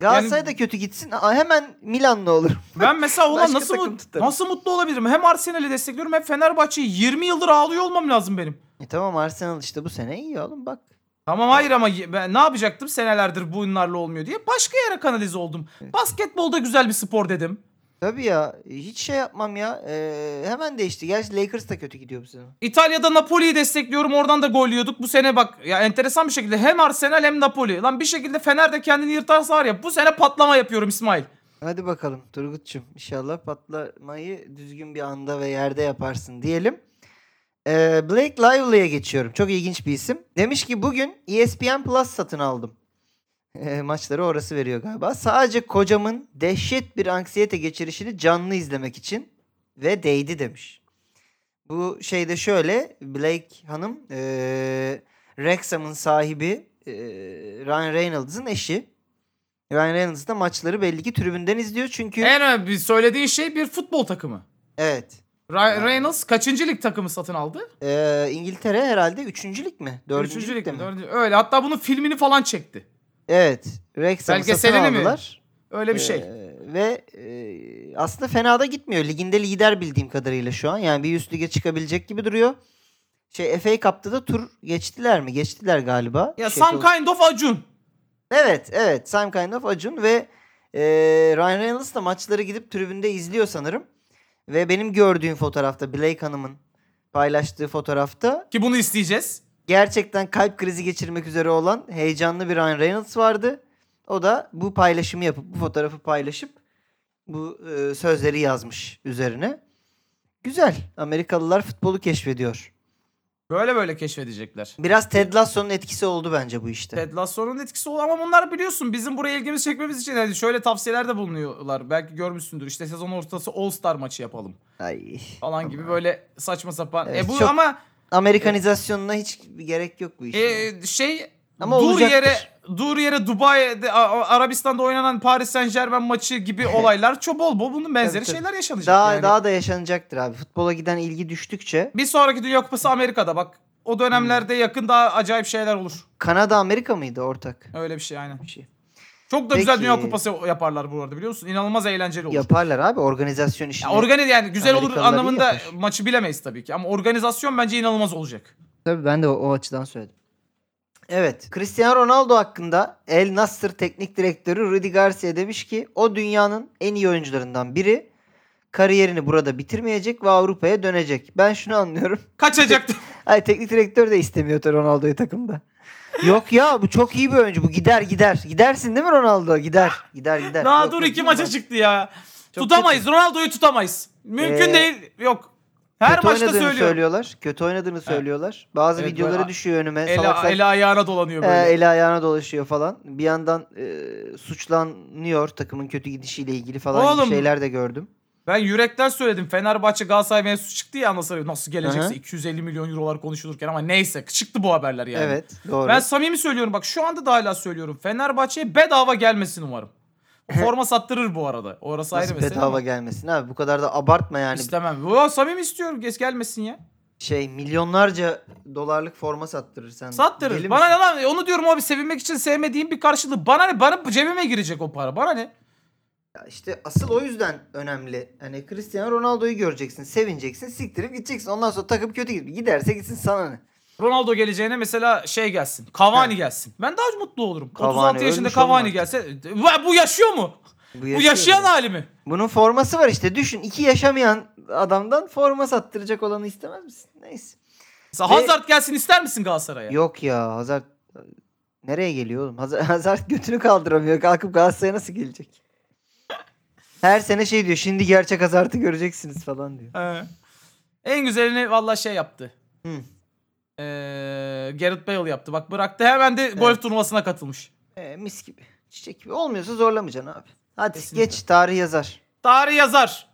Galatasaray da kötü gitsin. Aa, hemen Milan'la olur. ben mesela ulan Başka nasıl, takım mut- tutarım. nasıl mutlu olabilirim? Hem Arsenal'i destekliyorum hem Fenerbahçe'yi 20 yıldır ağlıyor olmam lazım benim. E tamam Arsenal işte bu sene iyi oğlum bak. Tamam hayır ama ye- ben ne yapacaktım senelerdir bunlarla olmuyor diye başka yere kanalize oldum. Basketbolda güzel bir spor dedim. Tabii ya hiç şey yapmam ya. Ee, hemen değişti. Gerçi Lakers da kötü gidiyor bu sene. İtalya'da Napoli'yi destekliyorum oradan da gol yiyorduk. Bu sene bak ya enteresan bir şekilde hem Arsenal hem Napoli. Lan bir şekilde Fener de kendini yırtarsa var ya bu sene patlama yapıyorum İsmail. Hadi bakalım Turgut'cum. İnşallah patlamayı düzgün bir anda ve yerde yaparsın diyelim. Ee, Blake Lively'e geçiyorum. Çok ilginç bir isim. Demiş ki bugün E ESPN Plus satın aldım. Ee, maçları orası veriyor galiba. Sadece kocamın dehşet bir anksiyete geçirişini canlı izlemek için ve değdi demiş. Bu şeyde şöyle Blake Hanım ee, Wrexham'ın sahibi ee, Ryan Reynolds'ın eşi. Ryan Reynolds da maçları belli ki tribünden izliyor çünkü En önemli söylediğin şey bir futbol takımı. evet. Ra- Reynolds kaçıncı lig takımı satın aldı? Ee, İngiltere herhalde üçüncülük mi? Dördüncü Üçüncü lig lig mi? mi? Dördüncü- Öyle hatta bunun filmini falan çekti. Evet. Wrexham'ı satın Belgeselini mi? aldılar. Öyle bir şey. Ee, ve e, aslında fena da gitmiyor. Liginde lider bildiğim kadarıyla şu an. Yani bir üst lige çıkabilecek gibi duruyor. Şey FA Cup'ta da tur geçtiler mi? Geçtiler galiba. ya Şey, some kind of Acun. Evet, evet. Same Kind of Acun ve e, Ryan Reynolds da maçları gidip tribünde izliyor sanırım. Ve benim gördüğüm fotoğrafta Blake Hanım'ın paylaştığı fotoğrafta Ki bunu isteyeceğiz. gerçekten kalp krizi geçirmek üzere olan heyecanlı bir Ryan Reynolds vardı. O da bu paylaşımı yapıp bu fotoğrafı paylaşıp bu e, sözleri yazmış üzerine. Güzel. Amerikalılar futbolu keşfediyor. Böyle böyle keşfedecekler. Biraz Ted Lasso'nun etkisi oldu bence bu işte. Ted Lasso'nun etkisi oldu ama bunlar biliyorsun bizim buraya ilgimizi çekmemiz için hani şöyle tavsiyelerde bulunuyorlar. Belki görmüşsündür işte sezon ortası All Star maçı yapalım Ay. falan gibi böyle saçma sapan. Evet, e bu çok- ama Amerikanizasyonuna hiç gerek yok bu işin. e, şey Ama dur olacaktır. yere dur yere Dubai'de A- A- Arabistan'da oynanan Paris Saint Germain maçı gibi olaylar çok bol bol bunun benzeri Tabii, tabii. şeyler yaşanacak. daha yani. daha da yaşanacaktır abi. Futbola giden ilgi düştükçe Bir sonraki Dünya Kupası Amerika'da bak. O dönemlerde yakın daha acayip şeyler olur. Kanada Amerika mıydı ortak? Öyle bir şey aynen. Bir şey. Çok da güzel Peki. Dünya Kupası yaparlar bu arada biliyor musun? İnanılmaz eğlenceli olur. Yaparlar abi organizasyon işini. Ya organize yani güzel olur Amerikalılar iyi anlamında yapar. maçı bilemeyiz tabii ki ama organizasyon bence inanılmaz olacak. Tabii ben de o, o açıdan söyledim. Evet. Cristiano Ronaldo hakkında El Nasser teknik direktörü Rudi Garcia demiş ki o dünyanın en iyi oyuncularından biri kariyerini burada bitirmeyecek ve Avrupa'ya dönecek. Ben şunu anlıyorum. Kaçacaktı. Ay teknik direktör de istemiyor tabii Ronaldo'yu takımda. Yok ya bu çok iyi bir oyuncu. Bu gider gider. Gidersin değil mi Ronaldo? Gider. Gider gider. Daha Yok, dur yok, iki değil mi? maça çıktı ya. Çok tutamayız. Ronaldo'yu tutamayız. Mümkün Ee, değil. Yok. Her Kötü maçta oynadığını söylüyor. söylüyorlar. Kötü oynadığını söylüyorlar. Bazı Evet, videoları böyle- düşüyor önüme. Eli, Salak salak eli ayağına dolanıyor Ee, böyle. eli ayağına dolaşıyor falan. Bir yandan e, suçlanıyor takımın kötü gidişiyle ilgili falan gibi Oğlum. şeyler de gördüm. Ben yürekten söyledim. Fenerbahçe Galatasaray mevzusu çıktı ya anasını nasıl gelecekse Hı hı. 250 milyon eurolar konuşulurken ama neyse çıktı bu haberler yani. Evet doğru. Ben samimi söylüyorum bak şu anda da hala söylüyorum. Fenerbahçe'ye bedava gelmesin umarım. Forma sattırır bu arada. Orası ayrı Nasıl mesele. bedava ama gelmesin abi bu kadar da abartma yani. İstemem. Ya, samimi istiyorum. Geç gelmesin ya. Şey milyonlarca dolarlık forma sattırır sen. Sattırır. Deli bana misin? ne lan? E, Onu diyorum abi sevinmek için sevmediğim bir karşılığı. Bana ne? Bana cebime girecek o para. Bana ne? Ya işte asıl o yüzden önemli. Hani Cristiano Ronaldo'yu göreceksin, sevineceksin, siktirip gideceksin. Ondan sonra takım kötü gidip giderse gitsin sana ne? Ronaldo geleceğine mesela şey gelsin. Cavani Heh. gelsin. Ben daha mutlu olurum. Cavani 36 yaşında ölmüş Cavani olmak. gelse. Vay, Bu yaşıyor mu? Bu yaşıyor yaşayan bile. hali mi? Bunun forması var işte. Düşün iki yaşamayan adamdan forma sattıracak olanı istemez misin? Neyse. Mesela Ve- Hazard gelsin ister misin Galatasaray'a? Yok ya Hazar nereye geliyor oğlum? Hazar, Hazar götünü kaldıramıyor. Kalkıp Galatasaray'a nasıl gelecek? Her sene şey diyor. Şimdi gerçek Hazar'ı göreceksiniz falan diyor. He. En güzelini valla şey yaptı. Hı. Ee, Gareth Bale yaptı. Bak bıraktı hemen de golf turnuvasına katılmış. Ee, mis gibi. Çiçek gibi. Olmuyorsa zorlamayacaksın abi. Hadi Kesinlikle. geç tarih yazar. Tarih yazar.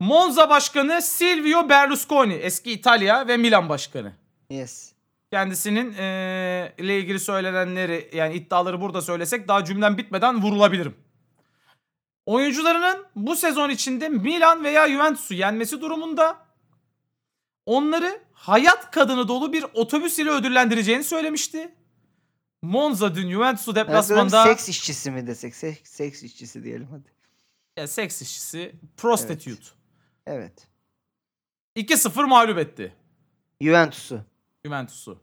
Monza başkanı Silvio Berlusconi. Eski İtalya ve Milan başkanı. Yes. Kendisinin ee, ile ilgili söylenenleri yani iddiaları burada söylesek daha cümlem bitmeden vurulabilirim. Oyuncularının bu sezon içinde Milan veya Juventus'u yenmesi durumunda onları hayat kadını dolu bir otobüs ile ödüllendireceğini söylemişti. Monza dün Juventus'u Nasıl deplasmanda seks işçisi mi desek? Seks, seks işçisi diyelim hadi. Ya seks işçisi prostitute. Evet. 2-0 mağlup etti Juventus'u. Juventus'u.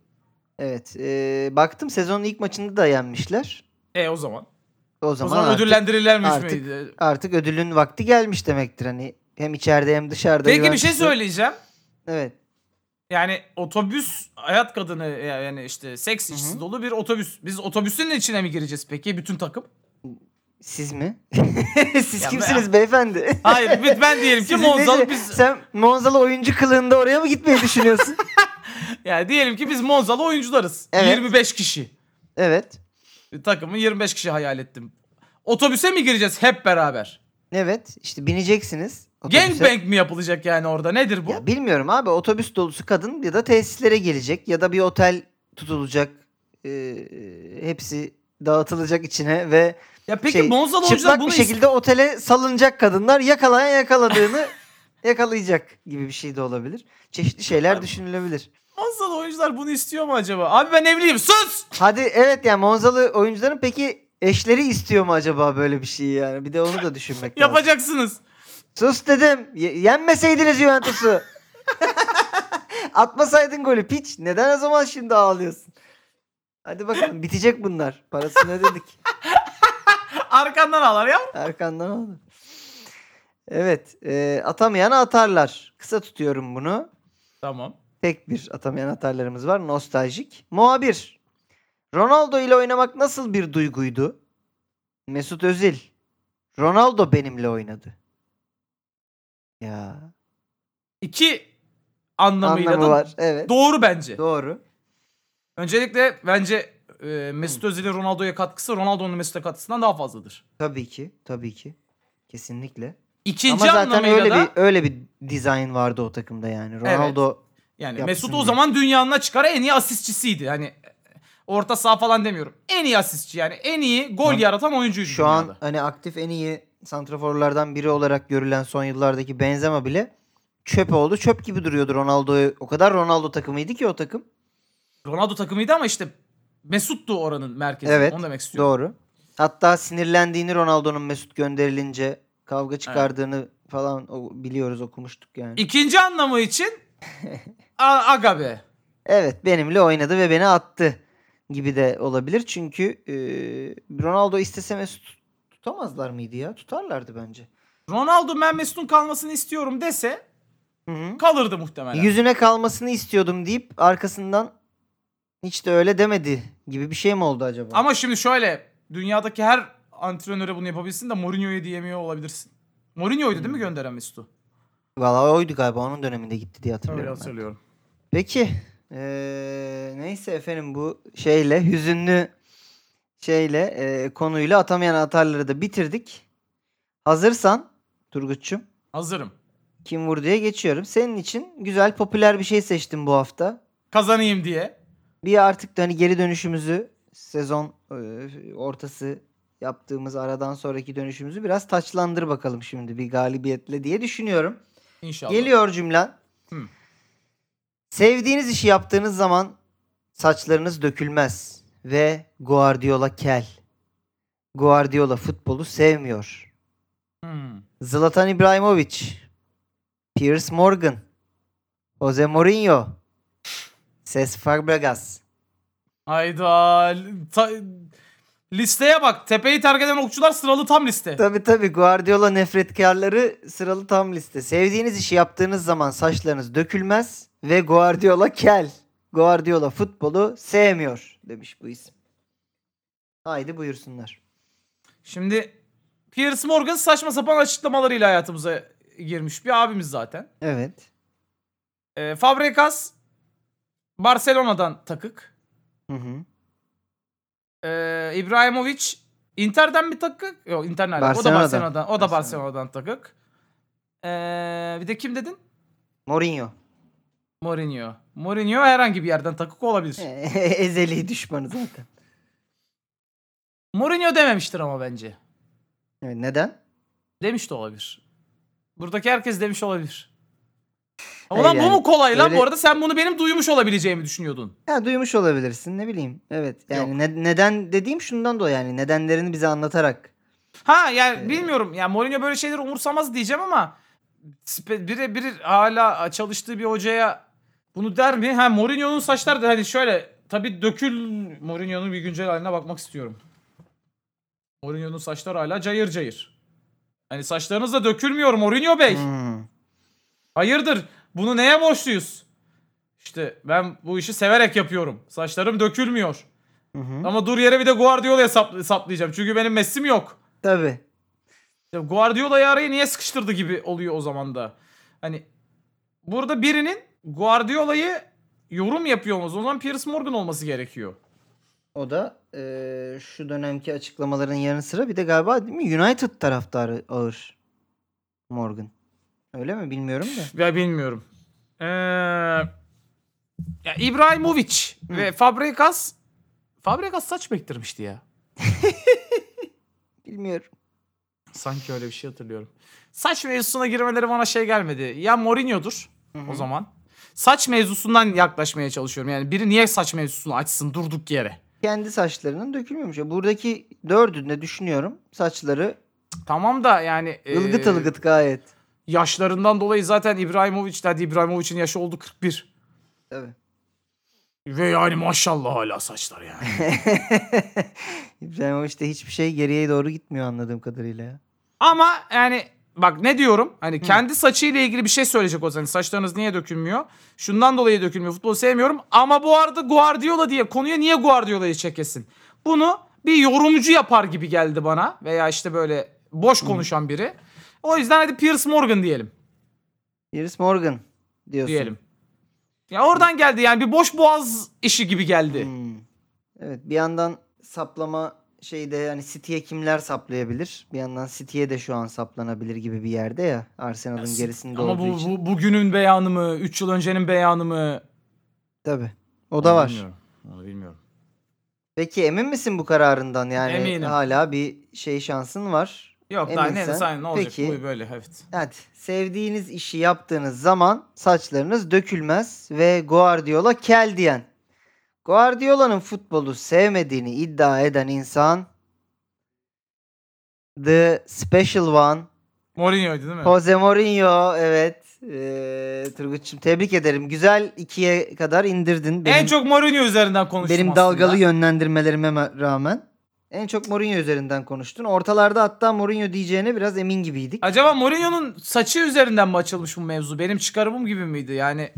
Evet. ee, baktım sezonun ilk maçında da yenmişler. E o zaman. O O zaman, zaman artık, ödüllendirilermiş artık- miydi? artık ödülün vakti gelmiş demektir. Hani hem içeride hem dışarıda. Peki bir şey Juventus'u- söyleyeceğim. Evet. Yani otobüs hayat kadını yani işte seks Hı hı. işçisi dolu bir otobüs. Biz otobüsün içine mi gireceğiz peki bütün takım? Siz mi? Siz Ya kimsiniz beyefendi? Hayır ben- ben diyelim ki Sizin Monzalı nece- biz Sen Monzalı oyuncu kılığında oraya mı gitmeyi düşünüyorsun? yani diyelim ki biz Monzalı oyuncularız. Evet. 25 kişi. evet. Takımı 25 kişi hayal ettim. Otobüse mi gireceğiz hep beraber? Evet. İşte bineceksiniz. otobüse. Gangbang mi yapılacak yani orada? Nedir bu? Ya bilmiyorum abi otobüs dolusu kadın ya da tesislere gelecek ya da bir otel tutulacak. Ee, hepsi dağıtılacak içine ve Ya peki şey, Monzalı oyuncular çıplak bir bunu is- şekilde otele salınacak kadınlar yakalayan yakaladığını yakalayacak gibi bir şey de olabilir. Çeşitli şeyler Abi. düşünülebilir. Monzalı oyuncular bunu istiyor mu acaba? Abi ben evliyim sus! Hadi evet yani Monzalı oyuncuların peki eşleri istiyor mu acaba böyle bir şeyi yani? Bir de onu da düşünmek lazım. Yapacaksınız. Sus dedim. Ye- yenmeseydiniz Juventus'u. Atmasaydın golü piç. Neden o zaman şimdi ağlıyorsun? Hadi bakalım bitecek bunlar. Parasını ödedik. Arkandan ağlar ya. Erkan'dan aldım. Evet. E, atamayana atarlar. Kısa tutuyorum bunu. Tamam. Tek bir atamayan atarlarımız var. Nostaljik. Muhabir. Ronaldo ile oynamak nasıl bir duyguydu? Mesut Özil. Ronaldo benimle oynadı. Ya. İki anlamıyla Anlamı da var. Evet. doğru bence. Doğru. Öncelikle bence e, Mesut Özil'in Ronaldo'ya katkısı Ronaldo'nun Mesut'a katkısından daha fazladır. Tabii ki. Tabii ki. Kesinlikle. İkinci Ama zaten anlamıyla öyle da bir öyle bir dizayn vardı o takımda yani. Ronaldo yani yapsın Mesut o diye. zaman dünyanın çıkar en iyi asistçisiydi. Hani e, orta saha falan demiyorum. En iyi asistçi yani en iyi gol Hı. yaratan oyuncuydu. şu an hani aktif en iyi santraforlardan biri olarak görülen son yıllardaki Benzema bile çöp oldu. Çöp gibi duruyordu Ronaldo'yu. O kadar Ronaldo takımıydı ki o takım. Ronaldo takımıydı ama işte Mesut'tu oranın merkezi. Evet, Onu demek istiyorum. Doğru. Hatta sinirlendiğini Ronaldo'nun Mesut gönderilince kavga çıkardığını falan o- biliyoruz okumuştuk yani. İkinci anlamı için A- aga be. Evet benimle oynadı ve beni attı gibi de olabilir. Çünkü e, Ronaldo istese Mesut tut- tutamazlar mıydı ya? Tutarlardı bence. Ronaldo ben Mesut'un kalmasını istiyorum dese Hı hı. kalırdı muhtemelen. Yüzüne kalmasını istiyordum deyip arkasından hiç de öyle demedi gibi bir şey mi oldu acaba? Ama şimdi şöyle dünyadaki her antrenöre bunu yapabilsin de Mourinho'ya diyemiyor olabilirsin. Mourinho'ydu değil mi gönderen Mesut'u? Valla oydu galiba onun döneminde gitti diye hatırlıyorum. Öyle ben. hatırlıyorum. Peki eee, neyse efendim bu şeyle hüzünlü şeyle eee, konuyla atamayan atarları da bitirdik. Hazırsan Turgut'cum Hazırım. kim vur diye geçiyorum. Senin için güzel popüler bir şey seçtim bu hafta. Kazanayım diye. Bir artık da hani geri dönüşümüzü sezon e, ortası yaptığımız aradan sonraki dönüşümüzü biraz taçlandır bakalım şimdi bir galibiyetle diye düşünüyorum. İnşallah. Geliyor cümlen. Hı. Sevdiğiniz işi yaptığınız zaman saçlarınız dökülmez ve Guardiola kel. Guardiola futbolu sevmiyor. Hmm. Zlatan Ibrahimovic, Piers Morgan, Jose Mourinho, Cesc Fabregas. Hayda. Ta- Listeye bak. Tepeyi terk eden okçular sıralı tam liste. Tabii tabii Guardiola nefretkarları sıralı tam liste. Sevdiğiniz işi yaptığınız zaman saçlarınız dökülmez ve Guardiola kel. Guardiola futbolu sevmiyor demiş bu isim. Haydi buyursunlar. Şimdi Piers Morgan saçma sapan açıklamalarıyla hayatımıza girmiş bir abimiz zaten. Evet. E, Fabregas Barcelona'dan takık. Hı hı. E, İbrahimovic Inter'den bir takık. Yok Inter nereden? O da Barcelona'dan. Barcelona'dan. O da Barcelona. Barcelona'dan takık. E, bir de kim dedin? Mourinho. Mourinho. Mourinho herhangi bir yerden takık olabilir. E, Ezeli düşmanı zaten. Mourinho dememiştir ama bence. Evet, neden? Demiş de olabilir. Buradaki herkes demiş olabilir. Hayır Ulan bu yani, mu kolay lan? öyle- Bu arada sen bunu benim duymuş olabileceğimi düşünüyordun. Ya duymuş olabilirsin ne bileyim. Evet. Yani ne- neden dediğim şundan dolayı yani nedenlerini bize anlatarak. Ha yani Ee, bilmiyorum. Yani Mourinho böyle şeyleri umursamaz diyeceğim ama spe- bire bir hala çalıştığı bir hocaya bunu der mi? Ha Mourinho'nun saçları da hani şöyle tabii dökül Mourinho'nun bir güncel haline bakmak istiyorum. Mourinho'nun saçları hala cayır cayır. Hani saçlarınız da dökülmüyor Mourinho Bey. Hmm. Hayırdır? Bunu neye borçluyuz? İşte ben bu işi severek yapıyorum. Saçlarım dökülmüyor. Hı hı. Ama dur yere bir de Guardiola hesap- hesaplayacağım. Çünkü benim Messi'm yok. Tabii. Ya Guardiola'yı araya niye sıkıştırdı gibi oluyor o zaman da. Hani burada birinin Guardiola'yı yorum yapıyor olması. O zaman Piers Morgan olması gerekiyor. O da eee, şu dönemki açıklamaların yanı sıra bir de galiba değil mi United taraftarı ağır Morgan. Öyle mi bilmiyorum da. Ya bilmiyorum. Ee, ya İbrahimovic ve Fabregas Fabregas saç bektirmişti ya. Bilmiyorum. Sanki öyle bir şey hatırlıyorum. Saç mevzusuna girmeleri bana şey gelmedi. Ya Mourinho'dur o zaman. Saç mevzusundan yaklaşmaya çalışıyorum. Yani biri niye saç mevzusunu açsın durduk yere? Kendi saçlarının dökülmemiş. Ya Buradaki dördünde düşünüyorum saçları Tamam da yani... ılgıt ee, ılgıt gayet. Yaşlarından dolayı zaten İbrahimovic, hadi İbrahimovic'in yaşı oldu 41. Tabii. Ve yani maşallah hala saçlar yani. İbrahimovic de hiçbir şey geriye doğru gitmiyor anladığım kadarıyla ya. Ama yani bak ne diyorum? Hani kendi saçıyla ilgili bir şey söyleyecek olsanız saçlarınız niye dökülmüyor? Şundan dolayı dökülmüyor. Futbolu sevmiyorum. Ama bu arada Guardiola diye konuya niye Guardiola'yı çekesin? Bunu bir yorumcu yapar gibi geldi bana veya işte böyle boş konuşan biri. O yüzden hadi Piers Morgan diyelim. Iris Morgan diyorsun. Diyelim. Ya oradan geldi yani bir boş boğaz işi gibi geldi. Hmm. Evet bir yandan saplama şeyde yani City'ye kimler saplayabilir? Bir yandan City'ye de şu an saplanabilir gibi bir yerde ya Arsenal'ın gerisinde Ama olduğu bu, için. bu bugünün beyanı mı, 3 yıl öncenin beyanı mı? Tabii. O da Onu var. bilmiyorum, Onu bilmiyorum. Peki emin misin bu kararından? Yani Eminim. hala bir şey şansın var. Yok daha ne, Eminsen, sen, ne olacak? peki. Bu böyle evet. Hadi. Sevdiğiniz işi yaptığınız zaman saçlarınız dökülmez ve Guardiola kel diyen. Guardiola'nın futbolu sevmediğini iddia eden insan The Special One Mourinho'ydu değil mi? Jose Mourinho evet. Ee, Turgut'cum tebrik ederim. Güzel ikiye kadar indirdin. Benim, en çok Mourinho üzerinden konuştum benim aslında. dalgalı yönlendirmelerime ma- rağmen. En çok Mourinho üzerinden konuştun. Ortalarda hatta Mourinho diyeceğine biraz emin gibiydik. Acaba Mourinho'nun saçı üzerinden mi açılmış bu mevzu? Benim çıkarımım gibi miydi? Yani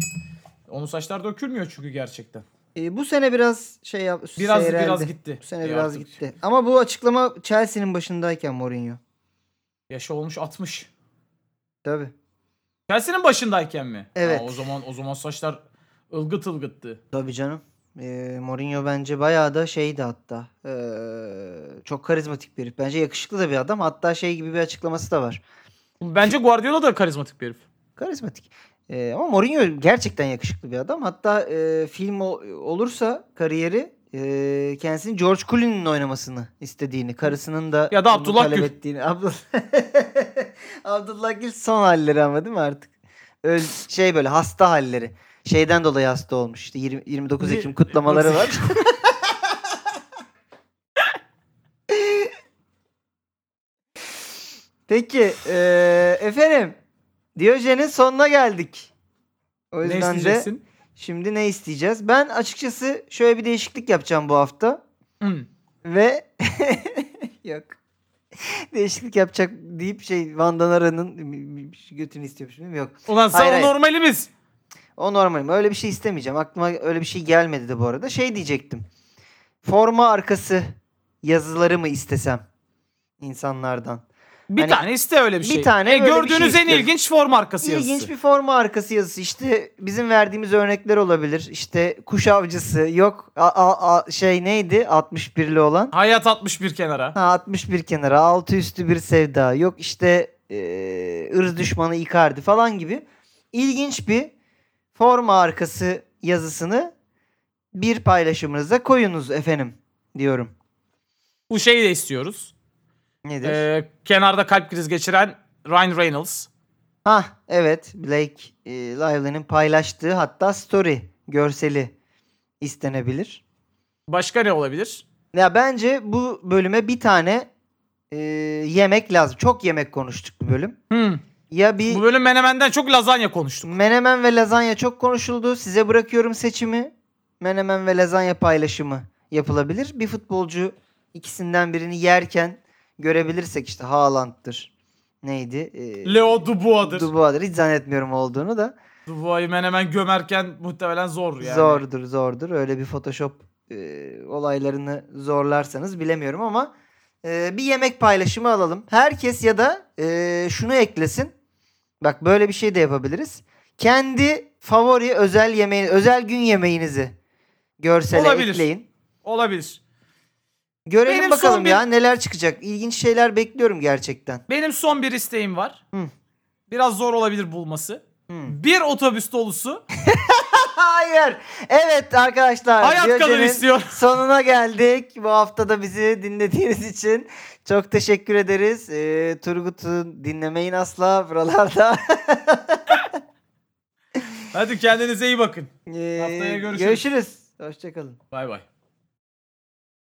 onun saçlar dökülmüyor çünkü gerçekten. Ee, bu sene biraz şey yap, Biraz seyreldi. biraz gitti. Bu sene E biraz artık gitti. Ama bu açıklama Chelsea'nin başındayken Mourinho. Yaşı olmuş 60. Tabii. Chelsea'nin başındayken mi? Ha, Evet. o zaman o zaman saçlar ılgıt ılgıttı. Tabii canım. Ee, Mourinho bence bayağı da şeydi hatta. Ee, çok karizmatik bir herif. Bence yakışıklı da bir adam. Hatta şey gibi bir açıklaması da var. Bence Guardiola da karizmatik bir herif. Karizmatik. Ee, ama Mourinho gerçekten yakışıklı bir adam. Hatta e, film ol- olursa kariyeri e, kendisini George Clooney'nin oynamasını istediğini, karısının da Ya da bunu Abdullah talep Gül. ettiğini. Abdullah, Abdullah Gül son halleri ama değil mi artık? Öl, şey böyle hasta halleri. Şeyden dolayı hasta olmuş. İşte 20 29 Bir- Ekim kutlamaları var. Peki e, efendim Diyojen'in sonuna geldik. O Ne yüzden de isteyeceksin? şimdi ne Hmm. isteyeceğiz? Ben açıkçası şöyle bir değişiklik yapacağım bu hafta Hı. ve yok. Değişiklik yapacak deyip şey Van Danara'nın götünü istiyormuş değil mi? Yok. Ulan sana Hayır, hayır. normalimiz. O normal. Öyle bir şey istemeyeceğim. Aklıma öyle bir şey gelmedi de bu arada. Şey diyecektim. Forma arkası yazıları mı istesem insanlardan? Bir Hani tane iste öyle bir bir şey. tane E, böyle bir şey gördüğünüz en istiyorum. ilginç form arkası İlginç yazısı. bir forma arkası yazısı. İşte bizim verdiğimiz örnekler olabilir. İşte kuş avcısı yok. A, a- a- şey neydi? 61'li olan. Hayat 61 kenara. Ha, 61 kenara. Altı üstü bir sevda. Yok işte eee, ırz düşmanı Icardi falan gibi. İlginç bir forma arkası yazısını bir paylaşımınıza koyunuz efendim diyorum. Bu şeyi de istiyoruz. Nedir? Ee, kenarda kalp krizi geçiren Ryan Reynolds. Ha evet Blake e, Lively'nin paylaştığı hatta story görseli istenebilir. Başka ne olabilir? Ya bence bu bölüme bir tane e, yemek lazım. Çok yemek konuştuk bu bölüm. Hmm. Ya bir Bu bölüm Menemen'den çok lazanya konuştuk. menemen ve lazanya çok konuşuldu. Size bırakıyorum seçimi. Menemen ve lazanya paylaşımı yapılabilir. Bir futbolcu ikisinden birini yerken görebilirsek işte Haaland'dır. Neydi? E, Leo Dubois'dır. Dubois'dır. Hiç zannetmiyorum olduğunu da. Dubois'u Menemen gömerken muhtemelen zor yani. Zordur zordur. Öyle bir Photoshop e, olaylarını zorlarsanız bilemiyorum ama e, bir yemek paylaşımı alalım. Herkes ya da e, şunu eklesin. Bak böyle bir şey de yapabiliriz. Kendi favori özel yemeği, özel gün yemeğinizi görsele Olabilir. ekleyin. Olabilir. Görelim Benim son bakalım bir- ya neler çıkacak. İlginç şeyler bekliyorum gerçekten. Benim son bir isteğim var. Hı. Biraz zor olabilir bulması. Hmm. Bir otobüs dolusu Hayır. Evet arkadaşlar. hayat kalır Diyojen'in- istiyor. Sonuna geldik. Bu hafta da bizi dinlediğiniz için çok teşekkür ederiz. Ee, Turgut'u dinlemeyin asla buralarda. Hadi kendinize iyi bakın. Ee, Haftaya görüşürüz. Görüşürüz. Hoşçakalın. Bay bay.